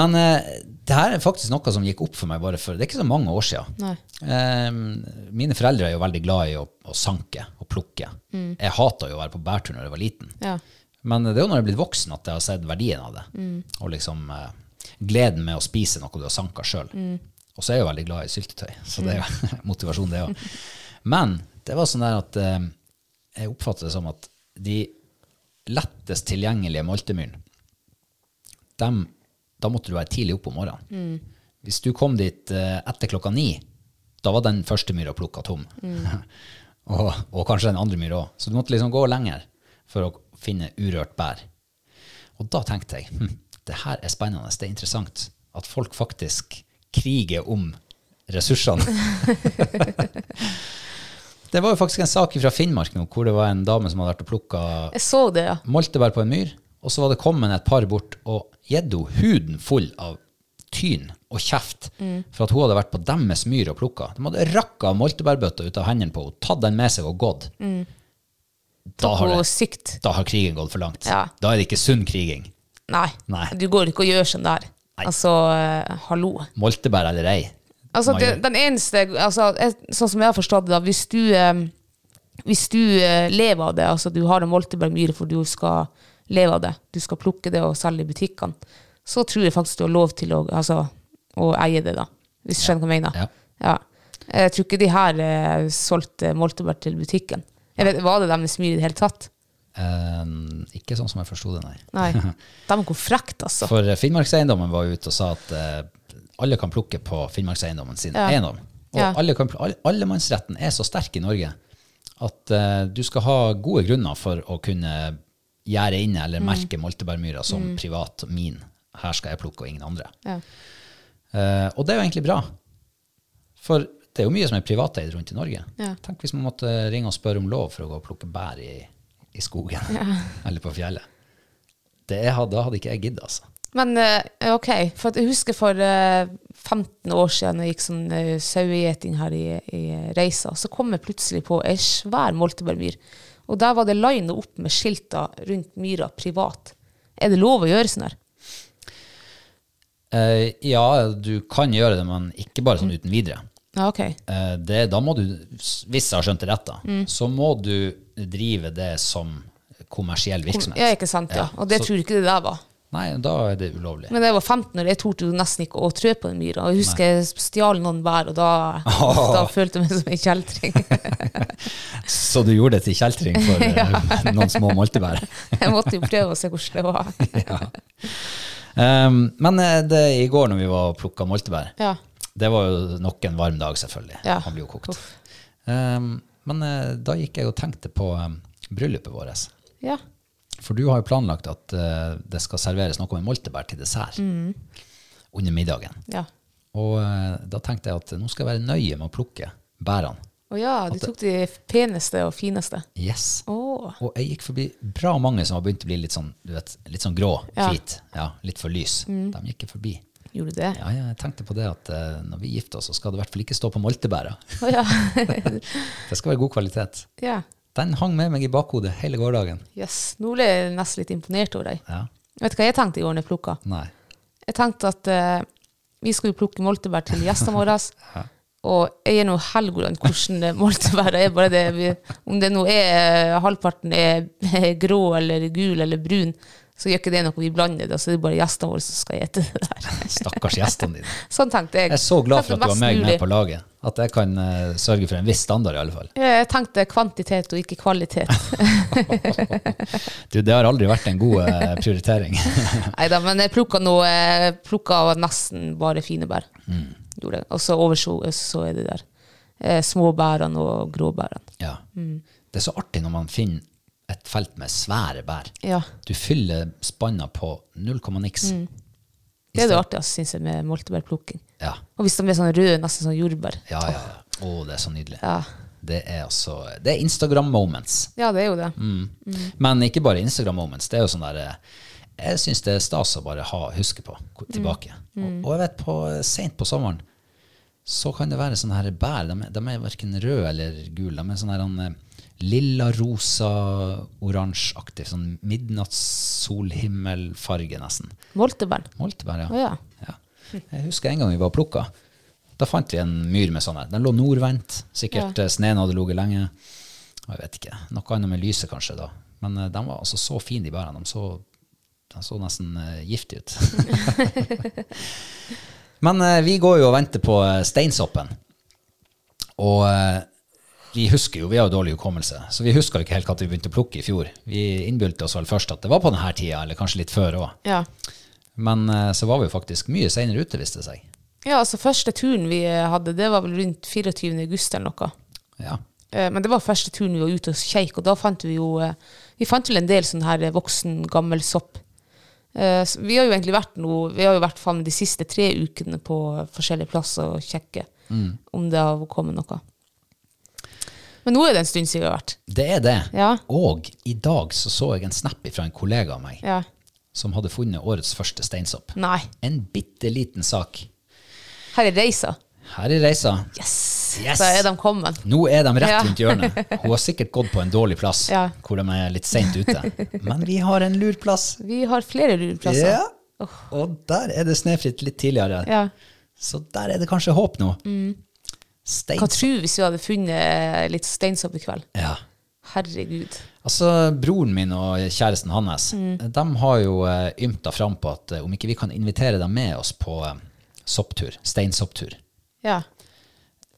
Men eh, det her er faktisk noe som gikk opp for meg bare for Det er ikke så mange år siden.
Nei.
Eh, mine foreldre er jo veldig glad i å, å sanke og plukke.
Mm.
Jeg hata jo å være på bærtur når jeg var liten.
Ja.
Men det er jo når jeg er blitt voksen at jeg har sett verdien av det. Og liksom eh, gleden med å spise noe du har sanka sjøl. Og så er jeg jo veldig glad i syltetøy, så det er jo motivasjon, det òg. Men det var sånn der at eh, jeg oppfatter det som at de lettest tilgjengelige moltemyrene, dem, da måtte du være tidlig oppe om morgenen. Hvis du kom dit eh, etter klokka ni, da var den første myra plukka tom. og, og kanskje den andre myra òg. Så du måtte liksom gå lenger for å finne urørt bær. Og da tenkte jeg hm, det her er spennende, det er interessant at folk faktisk kriger om ressursene. det var jo faktisk en sak fra Finnmark nå, hvor det var en dame som hadde vært og plukka
Jeg så det, ja.
moltebær på en myr, og så var det kommet et par bort og gitt henne huden full av tyn og kjeft
Mm.
for at hun hadde vært på deres myr og plukka. De hadde rakka moltebærbøtta ut av hendene på henne, tatt den med seg og gått. Da, har
Mm. Og
det,
sykt.
da har krigen gått for langt.
Ja.
Da er det ikke sunn kriging.
Nei.
Nei.
Du går ikke og gjør sånn der. Altså, eh, hallo.
Moltebær eller ei.
Altså,
Man
det,
gjør-
den eneste altså, jeg, Sånn som jeg har forstått det, da, hvis du, eh, hvis du eh, lever av det Altså, du har en moltebærmyre for du skal leve av det, du skal plukke det og selge i butikkene, så tror jeg faktisk du har lov til å, altså, å eie det, da. Hvis du skjønner hva jeg mener.
Ja.
Ja. Jeg tror ikke de her eh, solgte moltebær til butikken. Jeg vet, Var det deres myr i det hele tatt?
Eh, ikke sånn som jeg forsto det, nei.
Nei. De går frekt, altså.
eh, For Finnmarkseiendommen var ute og sa at eh, alle kan plukke på Finnmarkseiendommen sin
Ja.
eiendom. Og Og
Ja.
alle kan, pl- alle- allemannsretten er så sterk i Norge at eh, du skal ha gode grunner for å kunne gjerde inne eller
Mm.
merke Moltebærmyra som privat min. Her skal jeg plukke, og ingen andre.
Ja.
Eh, og det er jo egentlig bra. For det er jo mye som er privateid rundt i Norge.
Ja.
Tenk hvis man måtte ringe og spørre om lov for å gå og plukke bær i, i skogen eller på fjellet. Det hadde, da hadde ikke jeg giddet, altså.
Men eh, ok, for at jeg husker for eh, 15 år siden når jeg gikk som uh, sauegjeting her i, i Reisa, så kom jeg plutselig på ei svær moltebærmyr. Og der var det lina opp med skilta rundt myra privat. Er det lov å gjøre sånn her?
Eh, ja, du kan gjøre det, men ikke bare sånn uten videre.
Ja, ok.
Eh, det, da må du, hvis jeg har skjønt det rett, da,
Mm.
så må du drive det som kommersiell virksomhet.
Ja, ikke sant, ja.
Ja,
Og det
så-
tror jeg ikke det der var.
Nei, da er det ulovlig.
Men da jeg var 15 år, jeg torde jo nesten ikke å trø på den myra. Og jeg husker jeg stjal noen bær, og da, da følte jeg meg som en kjeltring.
Så du gjorde det til kjeltring for eh, noen små moltebær?
Jeg måtte jo prøve å se hvordan det var.
Um, men eh, det, i går når vi var og plukka moltebær,
Ja.
det var jo nok en varm dag, selvfølgelig.
Ja.
Han blir jo kokt. Um, men eh, da gikk jeg og tenkte på um, bryllupet vårt.
Ja.
For du har jo planlagt at eh, det skal serveres noe med moltebær til dessert
Mm.
under middagen.
Ja.
Og eh, da tenkte jeg at nå skal jeg være nøye med å plukke bærene.
Å ja, du tok de peneste og fineste.
Yes.
Å.
Og jeg gikk forbi bra mange som har begynt å bli litt sånn, du vet, litt sånn grå,
Ja. Mm.
hvit, ja, litt for lys. De gikk jeg forbi.
Gjorde du det?
Ja, ja, jeg tenkte på det at eh, når vi gifter oss, så skal det i hvert fall ikke stå på moltebæra.
Å ja.
Det skal være god kvalitet.
ja.
Den hang med meg i bakhodet hele gårdagen.
Yes. Nå ble jeg nesten litt imponert over deg.
Ja,
Vet du hva jeg tenkte i går når jeg plukka?
nei.
Jeg tenkte at eh, vi skulle plukke moltebær til gjestene våre. Og jeg er nå helgoland hvordan det moltebæret er. Bare det, vi- om det nå er eh, halvparten er grå eller gul eller brun, så gjør ikke det noe vi blander det. Så det er bare gjestene våre som skal ete det der.
Stakkars gjestene dine.
Sånn tenkte jeg.
Jeg er så glad for
Tenkte
at du har
mest
meg med
mulig.
på laget. At jeg kan eh, sørge for en viss standard, i alle fall.
Jeg tenkte kvantitet og ikke kvalitet.
Du, det har aldri vært en god eh, prioritering.
Nei da, men jeg plukka nå eh, plukket nesten bare fine bær. Gjorde jeg. Og så over så, så er det der. Eh, Småbærene og gråbærene.
ja. Det er så artig når man finner et felt med svære bær.
Ja.
Du fyller spanna på null komma niks.
Det er det artigste, syns jeg, med moltebærplukking.
Ja.
Og hvis de er sånn røde, nesten sånn jordbær.
Ja, ja. ja. Å, det er så nydelig.
Ja.
Det er altså Det er Instagram moments.
ja, det er jo det.
Mm. Men ikke bare Instagram moments. Det er jo sånn der eh, Jeg syns det er stas å bare ha, huske på ko- tilbake. Og, og jeg vet, på seint på sommeren så kan det være sånne her bær. De, er- de er verken røde eller gule. De er sånn her eh, lilla, rosa, oransjeaktig. Sånn midnattssolhimmelfarge, nesten.
Moltebær.
Moltebær, ja.
Å ja.
Ja. Jeg husker en gang vi var og plukka. Da fant vi en myr med sånne. Den lå nordvendt. Sikkert eh, sneen hadde ligget lenge. Og Jeg vet ikke. Noe annet med lyset, kanskje. da. Men eh, de var altså så fine, de bærene. De så, de så nesten eh, giftige ut. Men eh, vi går jo og venter på eh, steinsoppen. Og eh, vi husker jo, vi har jo dårlig hukommelse, så vi husker jo ikke helt når vi begynte å plukke i fjor. Vi innbilte oss vel først at det var på denne tida, eller kanskje litt før òg.
Ja.
Men eh, så var vi jo faktisk mye seinere ute, viste det seg.
ja, altså første turen vi eh, hadde, det var vel rundt 24. august eller noe.
Ja.
Eh, Men det var første turen vi var ute og kjeik, og da fant vi jo eh, Vi fant vel en del sånn her eh, voksen, gammel sopp. Eh, så Vi har jo egentlig vært nå Vi har jo vært faen meg de siste tre ukene på forskjellige plasser og kjekke
Mm.
om det har kommet noe. Men nå er det en stund siden vi har vært.
Det er det.
Ja.
Og i dag så, så jeg en snap fra en kollega av meg
Ja.
som hadde funnet årets første steinsopp.
Nei.
En bitte liten sak.
Her er reisa.
Her i reisa,
Yes!
Yes!
Da er de kommet.
nå er de rett
Ja.
rundt hjørnet. Hun har sikkert gått på en dårlig plass
Ja.
hvor de er litt seint ute. Men vi har en lur plass.
Vi har flere lureplasser.
Ja. Og der er det snøfritt litt tidligere.
Ja. Mm.
Så der er det kanskje håp nå.
Hva
Steinsopp.
tror du hvis vi hadde funnet eh, litt steinsopp i kveld?
Ja.
Herregud.
Altså, Broren min og kjæresten hans
Mm.
de har jo eh, ymta fram på at eh, om ikke vi kan invitere dem med oss på eh, sopptur, steinsopptur
Ja.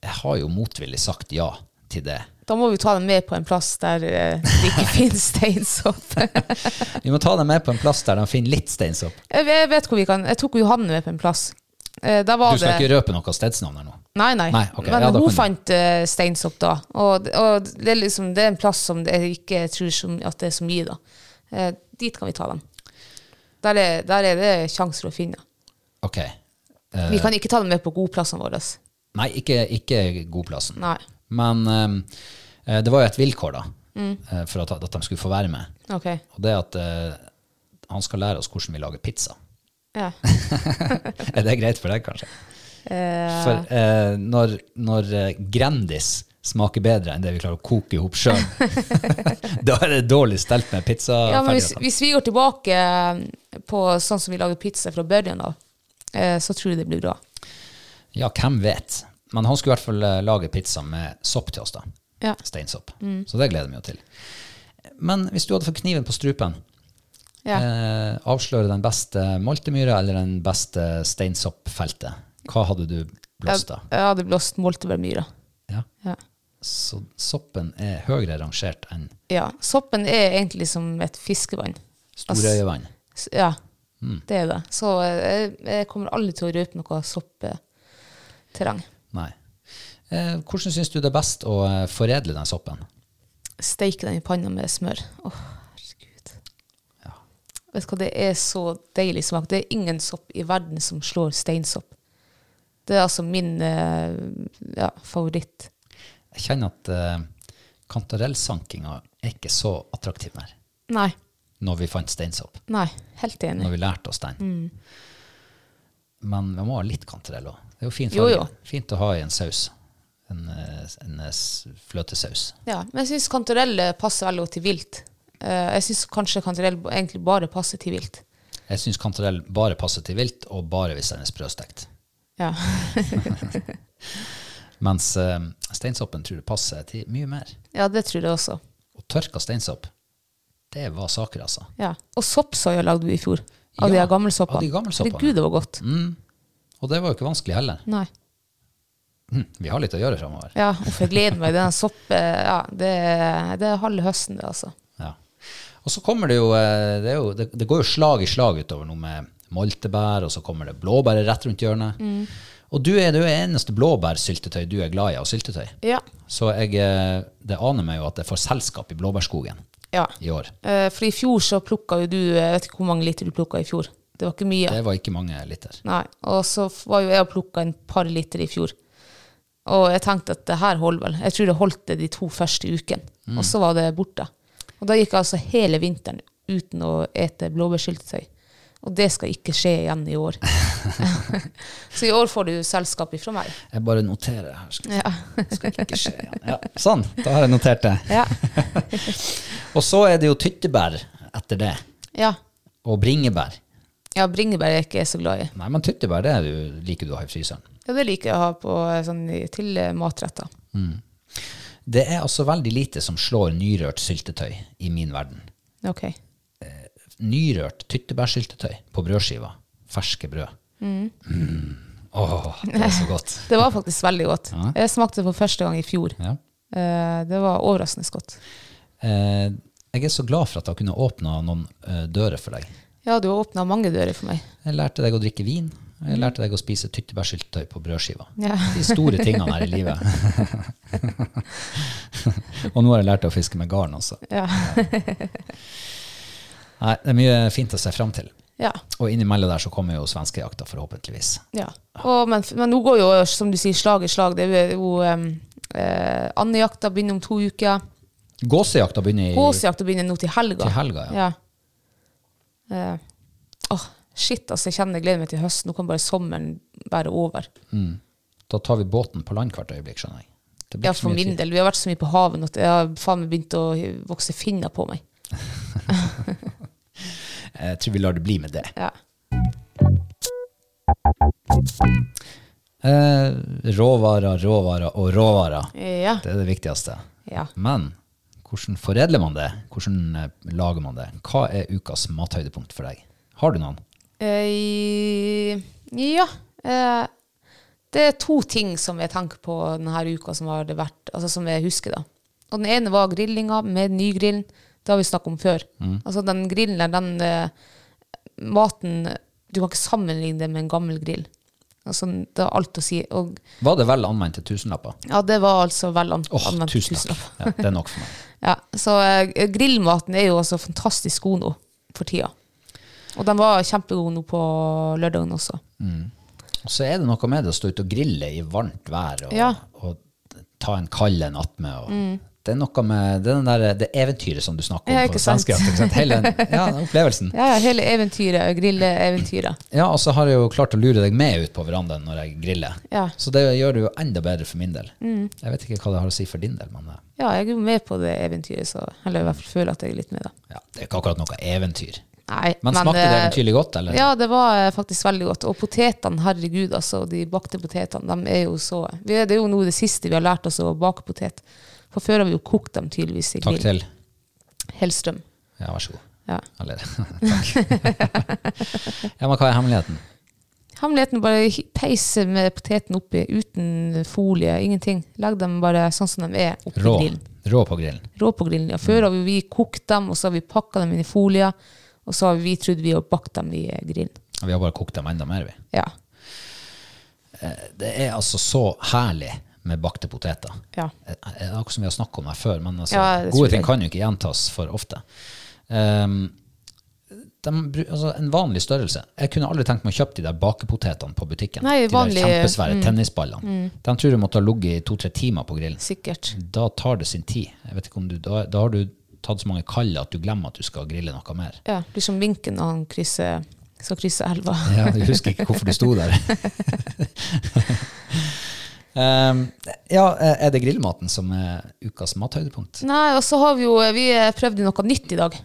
Jeg har jo motvillig sagt ja til det.
Da må vi ta dem med på en plass der eh, det ikke finnes steinsopp.
Vi må ta dem med på en plass der de finner litt steinsopp.
jeg, jeg vet hvor vi kan. Jeg tok jo Johanne med på en plass. Eh, da
Du
var
skal
det
ikke røpe noe stedsnavn her nå?
Nei, nei.
Nei, ok.
Men
Ja, da kan
hun
du.
fant eh, Steinsopp da. Og, og det, er liksom, det er en plass som jeg ikke tror så mye- at det er så mye, da. Eh, dit kan vi ta dem. Der er, der er det sjanser å finne.
Ok. Eh.
Vi kan ikke ta dem med på godplassene våre.
Nei, ikke, ikke godplassen.
Nei.
Men eh, det var jo et vilkår, da,
Mm.
eh, for at, at de skulle få være med.
Ok.
Og det at eh, han skal lære oss hvordan vi lager pizza.
Ja.
er det greit for deg, kanskje? For eh, når, når eh, Grandis smaker bedre enn det vi klarer å koke i hop sjøl, da er det dårlig stelt med
ja, men hvis,
pizzaferdighetene.
hvis vi går tilbake eh, på sånn som vi lager pizza fra børjen, da, eh, så tror jeg det blir bra.
Ja, hvem vet? Men han skulle i hvert fall eh, lage pizza med sopp til oss, da.
Ja.
Steinsopp.
Mm.
Så det gleder vi oss til. Men hvis du hadde fått kniven på strupen,
Ja.
eh, avsløre den beste moltemyra eller den beste steinsoppfeltet, hva hadde du blåst da?
Jeg, jeg hadde blåst moltebærmyra.
Ja.
Ja.
Så soppen er høyere rangert enn
ja. Soppen er egentlig som et fiskevann. Altså,
storøyevann.
s- Ja,
Mm.
det er det. Så eh, jeg, jeg kommer aldri til å røpe noe soppeterreng.
Nei. Eh, hvordan syns du det er best å eh, foredle den soppen?
Steike den i panna med smør. Åh, herregud.
Ja.
Vet du hva, det er så deilig smak. Det er ingen sopp i verden som slår steinsopp. Det er altså min eh, ja, favoritt.
Jeg kjenner at eh, kantarellsankinga er ikke så attraktiv mer,
Nei,
når vi fant steinsopp.
nei, Mm. helt enig.
Når vi lærte oss den. Men vi må ha litt kantarell òg. Det er jo fint,
Jo,
farge.
jo.
fint å ha i en saus. En, eh, en eh, s- fløtesaus.
Ja, men jeg syns kantarell eh, passer veldig godt til vilt. Eh, jeg syns kanskje kantarell b- egentlig bare passer til vilt.
Jeg syns kantarell bare passer til vilt, og bare hvis den er sprøstekt.
Ja.
Mens eh, steinsoppen tror jeg passer til mye mer.
ja, det tror jeg også.
Og tørka steinsopp, det var saker, altså.
Ja. Og soppsoya lagde vi i fjor. Av
Ja,
de her gamle soppene.
av de gamle soppene. Mm.
Herregud, det var godt.
Og det var jo ikke vanskelig heller.
Nei.
Hm, Vi har litt å gjøre framover.
Ja, uff, jeg gleder meg. Den sopp eh, ja, det, det er halve høsten, det, altså.
Ja. Og så kommer det jo, eh, det, er jo det, det går jo slag i slag utover noe med moltebær, og så kommer det blåbær rett rundt hjørnet. Og du er det er jo eneste blåbærsyltetøy du er glad i av syltetøy.
Ja.
Så jeg, eh, det aner meg jo at jeg får selskap i blåbærskogen
ja.
i år.
Eh, For i fjor så plukka jo du Jeg vet ikke hvor mange liter du plukka i fjor. Det var ikke mye.
Det var ikke mange liter.
Nei. Og så f- var jo jeg og plukka en par liter i fjor. Og jeg tenkte at det her holder vel. Jeg tror det holdt det de to første ukene. Og så var det borte. Og da gikk jeg altså hele vinteren uten å ete blåbærsyltetøy. Og det skal ikke skje igjen i år. så i år får du selskap ifra meg.
Jeg bare noterer her. Skal,
Ja.
skal ikke skje igjen. Ja, sånn, da har jeg notert det.
Ja.
Og så er det jo tyttebær etter det,
ja.
og bringebær.
ja bringebær er jeg ikke så glad i.
Nei, men tyttebær det er du, liker du å ha i fryseren.
Ja, det liker jeg å ha på, eh, sånn, i- til eh, matretter.
Det er altså veldig lite som slår nyrørt syltetøy i min verden.
Ok.
Nyrørt tyttebærsyltetøy på brødskiva. Ferske brød. Mm. Åh, det er så godt.
Det var faktisk veldig godt. Jeg smakte det for første gang i fjor.
Ja.
Eh, Det var overraskende godt.
Eh, jeg er så glad for at jeg har kunnet åpne noen eh, dører for deg.
Ja, du har åpna mange dører for meg.
Jeg lærte deg å drikke vin. og Jeg lærte deg å spise tyttebærsyltetøy på brødskiva.
Ja.
De store tingene her i livet. og nå har jeg lært deg å fiske med garn også.
Ja.
Nei, det er mye fint å se fram til.
ja.
Og innimellom der så kommer jo svenskejakta, forhåpentligvis.
ja. Og, men, men nå går jo, som du sier, slag i slag. Det er jo em, eh, Andejakta begynner om to uker.
Gåsejakta begynner i
Gåsejakta begynner nå til helga.
Eh, Til helga, ja.
ja. Eh, åh, shit, altså. Jeg kjenner jeg gleder meg til høsten. Nå kan bare sommeren være over.
Mm. Da tar vi båten på land hvert øyeblikk, skjønner jeg. Det blir
Ja,
ikke så
for
mye
min
tid.
del. Vi har vært så mye på havet nå at jeg har faen meg begynt å vokse finner på meg.
Jeg tror vi lar det bli med det.
Ja.
Eh, råvarer, råvarer og råvarer.
Ja.
Det er det viktigste.
ja.
Men hvordan foredler man det? Hvordan eh, lager man det? Hva er ukas mathøydepunkt for deg? Har du noen?
Eh, ja. Eh, det er to ting som jeg tenker på denne uka som har det vært, altså som jeg husker. da. Og Den ene var grillinga med nygrillen. Det har vi snakket om før.
Mm.
Altså Den grillen der, den eh, maten Du kan ikke sammenligne det med en gammel grill. Altså, det har alt å si. Og
Var det vel anvendt til tusenlapper?
ja, det var altså vel an
Åh,
anvendt
tusen takk.
tusenlapp.
Ja, det er nok for meg.
Ja, så eh, grillmaten er jo altså fantastisk god nå for tida. Og den var kjempegod nå på lørdagen også.
Og så er det noe med det å stå ute og grille i varmt vær og,
Ja. Mm.
og ta en kald en attmed. og Det er noe med det, er den der, det eventyret som du snakker om
Ja,
på
ikke sant?
svenske. at- ikke sant? Hele den, ja, den opplevelsen.
Ja, ja, hele eventyret, grilleeventyret.
Ja, og så har jeg jo klart å lure deg med ut på verandaen når jeg griller.
Ja. Mm.
Så det gjør det jo enda bedre for min del. Jeg vet ikke hva det har å si for din del, men eh,
Ja, jeg er jo med på det eventyret, så Eller i hvert fall føler at jeg er litt med, da.
ja, det er ikke akkurat noe eventyr.
Nei,
Men, smakte det
eh,
eventyrlig godt, eller?
Ja, det var eh, faktisk veldig godt. Og potetene, herregud, altså. De bakte potetene, de er jo så vi er- Det er jo noe av det siste vi har lært oss å bake potet. For før har vi jo kokt dem tydeligvis i
Takk
grill.
til.
Hellstrøm.
Ja, vær så god.
Ja.
Eller takk. ja, men hva er hemmeligheten?
Hemmeligheten er bare hi- peise med poteten oppi, uten folie, ingenting. Legg dem bare sånn som de er, oppi
Rå. Mm.
grillen.
Rå på grillen.
Rå på grillen. Ja, før har vi- vi kokt dem, og så har vi pakka dem inn i folie, og så har vi trodd vi har bakt dem i eh, grillen.
Vi har bare kokt dem enda mer, vi.
Ja.
Det er altså så herlig med bakte poteter.
Ja.
Det er akkurat som vi har snakket om her før, men altså,
Ja, det tror
gode ting
jeg.
kan jo ikke gjentas for ofte. Ehm, de, bru- altså, en vanlig størrelse. Jeg kunne aldri tenkt meg å kjøpe de der bakepotetene på butikken.
Nei, mm.
de
vanlige-
der kjempesvære tennisballene. De tror jeg måtte ha ligget i to-tre timer på grillen.
Sikkert.
Da tar det sin tid. Jeg vet ikke om du, da, da har du tatt så mange kalde at du glemmer at du skal grille noe mer.
Ja, blir som vinken når han krysser, skal krysse elva.
Ja, du husker ikke hvorfor du sto der. Ehm, ja, er det grillmaten som er ukas mathøydepunkt?
Nei, og så har vi jo vi prøvde noe nytt i dag.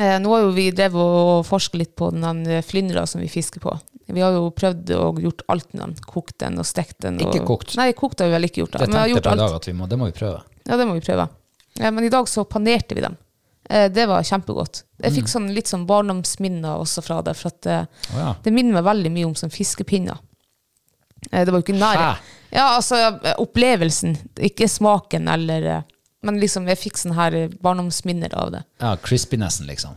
Eh, nå har jo vi drevet og forska litt på den der flyndra som vi fisker på. Vi har jo prøvd og gjort alt med den. Kokt den og stekt den.
Ikke
og,
kokt.
Nei, kokt har vi vel ikke gjort. Da.
Det
men vi
tenkte
har
jeg
gjort
på i
alt.
dag at vi må, det må vi prøve.
Ja, det må vi prøve. Eh, men i dag så panerte vi dem. Eh, det var kjempegodt. Jeg
Mm.
fikk sånn, litt sånn barndomsminner også fra det. For at, eh,
Å ja.
Det minner meg veldig mye om sånn fiskepinner. Eh, Det var jo ikke nær.
Hæ?
Ja, altså eh, opplevelsen, ikke smaken eller eh, Men liksom, jeg fikk sånne her eh, barndomsminner av det.
Ja, crispinessen, liksom.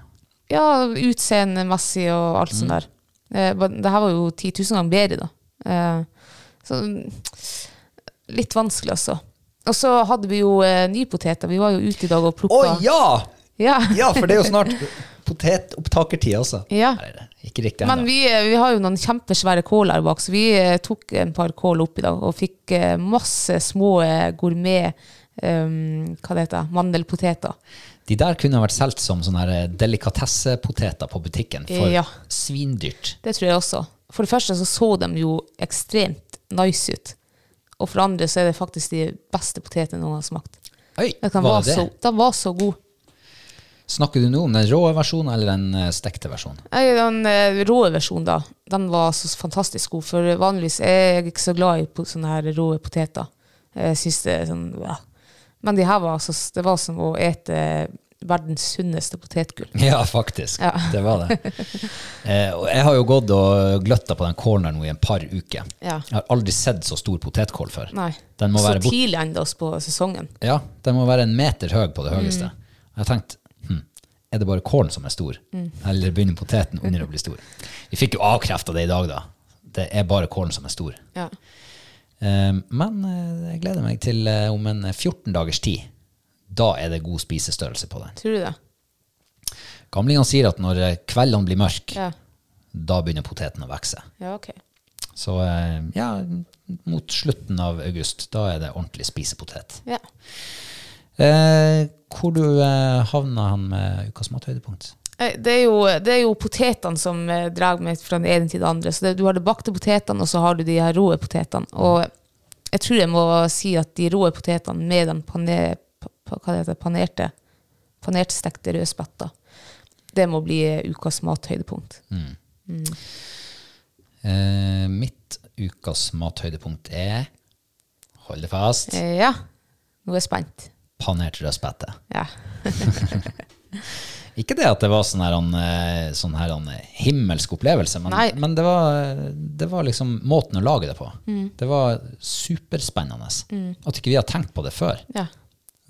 Ja, utseendemessig og alt
Mm.
sånt der. Eh, men Det her var jo 10 000 ganger bedre, da. Eh, Så mm, litt vanskelig, altså. Og så hadde vi jo eh, nypoteter. Vi var jo ute i dag og plukka.
ja!
Ja.
for det er jo snart potetopptakertid også.
Ja.
Nei, det er ikke riktig
Men
ennå.
vi, eh, vi har jo noen kjempesvære kål her bak, så vi eh, tok en par kål opp i dag og fikk eh, masse små eh, gourmet um, Hva det heter Mandelpoteter.
De der kunne ha vært solgt som sånne her eh, delikatessepoteter på butikken for
Ja.
svindyrt.
Det tror jeg også. For det første så så de jo ekstremt nice ut. Og for det andre så er det faktisk de beste potetene noen har smakt.
Oi,
De kan
var
var
det
så,
det?
de var så gode.
Snakker du nå om den rå versjonen eller den eh, stekte versjonen?
Nei, Den eh, rå versjonen, da, den var så fantastisk god. For vanligvis er jeg ikke så glad i po- sånne her rå poteter. Jeg synes det er sånn ja. Men de her var altså s- Det var som å ete verdens sunneste potetgull.
Ja, faktisk.
Ja.
Det var det. Eh, og jeg har jo gått og gløtta på den kålen her nå i en par uker.
Ja.
Jeg har aldri sett så stor potetkål før.
Nei.
Den må
så
være bort-
tidlig enda oss på sesongen.
Ja, den må være en meter høy på
Mm.
det høyeste. Og Jeg tenkte, hm, er det bare kålen som er stor?
Mm.
Eller begynner poteten under å bli stor? Vi fikk jo avkrefta det i dag, da. Det er bare kålen som er stor.
Ja.
Eh, men eh, jeg gleder meg til eh, om en 14 dagers tid. Da er det god spisestørrelse på den.
Tror du det?
Gamlingene sier at når eh, kveldene blir mørke,
Ja.
da begynner poteten å vokse.
ja, ok.
Så eh, ja, mot slutten av august, da er det ordentlig spisepotet.
Ja.
Eh, hvor du eh, havna han med ukas mathøydepunkt?
Nei, Det er jo, det er jo potetene som eh, drar meg fra den ene til den andre. Så det, du har de bakte potetene, og så har du de her rå potetene. Og jeg tror jeg må si at de rå potetene med den pane, pa, pa- hva det heter, panerte, panertstekte rødspetta, det må bli eh, ukas mathøydepunkt.
Eh, mitt ukas mathøydepunkt er Hold det fast.
Eh, Ja, nå er jeg spent.
Panert rødspette.
Ja.
Ikke det at det var sånn her, han, eh, sånn her han, eh, himmelsk opplevelse, men,
Nei.
men det, var, det var liksom måten
Mm.
å lage det på. Det var superspennende. At ikke vi har tenkt på det før.
ja.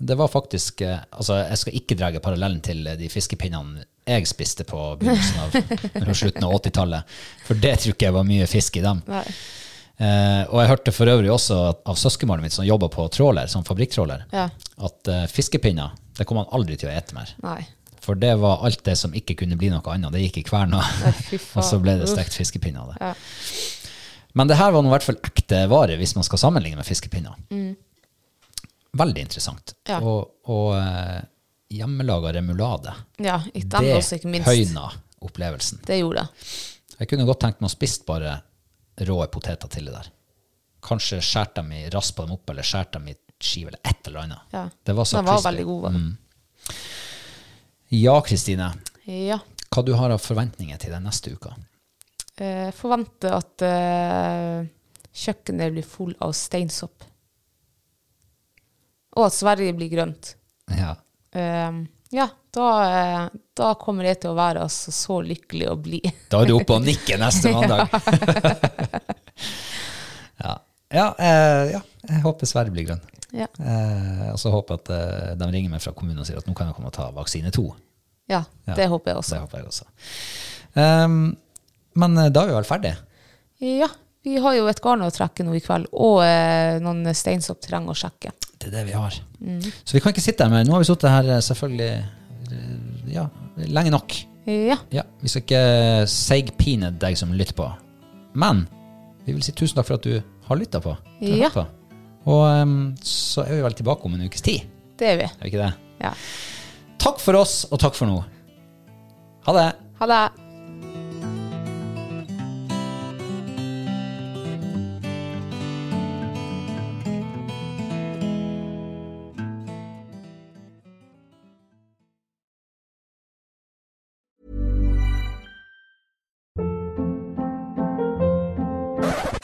Det var faktisk eh, Altså, jeg skal ikke dra parallellen til eh, de fiskepinnene jeg spiste på begynnelsen av eller slutten av 80-tallet, for det tror ikke jeg var mye fisk i dem.
Nei.
Eh, og jeg hørte for øvrig også at- av søskenbarnet mitt som jobba på tråler, som fabrikktråler,
Ja.
at eh, fiskepinner det kom han aldri til å ete mer.
Nei.
For det var alt det som ikke kunne bli noe annet. Det gikk i kverna,
fy faen.
og så ble det
Uff.
stekt fiskepinner av det.
Ja.
Men det her var nå i hvert fall ekte vare, hvis man skal sammenligne med fiskepinner. Veldig interessant.
Mm. Ja.
Og, og eh, hjemmelaga remulade.
Ja, i
Det
Danmark også, ikke minst.
høyna opplevelsen.
Det gjorde jeg.
Jeg kunne godt tenkt meg å spist bare rå poteter til det der. Kanskje skjært dem i, raspa dem opp, eller skjært dem i skive, eller et eller annet.
Ja.
Det var så
Den var
crispy.
veldig god, var den.
Ja, Kristine.
Ja.
Hva du har av forventninger til den neste uka?
Eh, forventer at eh, kjøkkenet blir full av steinsopp. Og at Sverige blir grønt.
Ja.
Eh, ja, da, eh, da kommer jeg til å være altså, så lykkelig å bli.
Da er du oppe og nikker neste mandag. ja. Ja, eh, ja, jeg håper Sverre blir grønn.
ja.
Eh, og så håper jeg at eh, de ringer meg fra kommunen og sier at nå kan jeg komme og ta vaksine to.
ja,
Ja.
det håper jeg
Så
også.
det håper jeg også. Ehm, men eh, da er vi vel ferdige.
Ja, vi har jo et garn å trekke nå i kveld, og eh, noen steinsoppterreng å sjekke. Mm.
Det er det vi har. Så vi kan ikke sitte her mer. Nå har vi sittet her eh, selvfølgelig eh, ja, lenge nok.
Ja,
Ja, Vi skal ikke eh, seigpine deg som lytter på. Men vi vil si tusen takk for at du har lytta på. Du har
Ja.
hørt på. Og ehm, så er vi vel tilbake om en ukes tid.
det er vi.
Er vi ikke det?
Ja.
Takk for oss, og takk for nå. Ha det.
Ha det.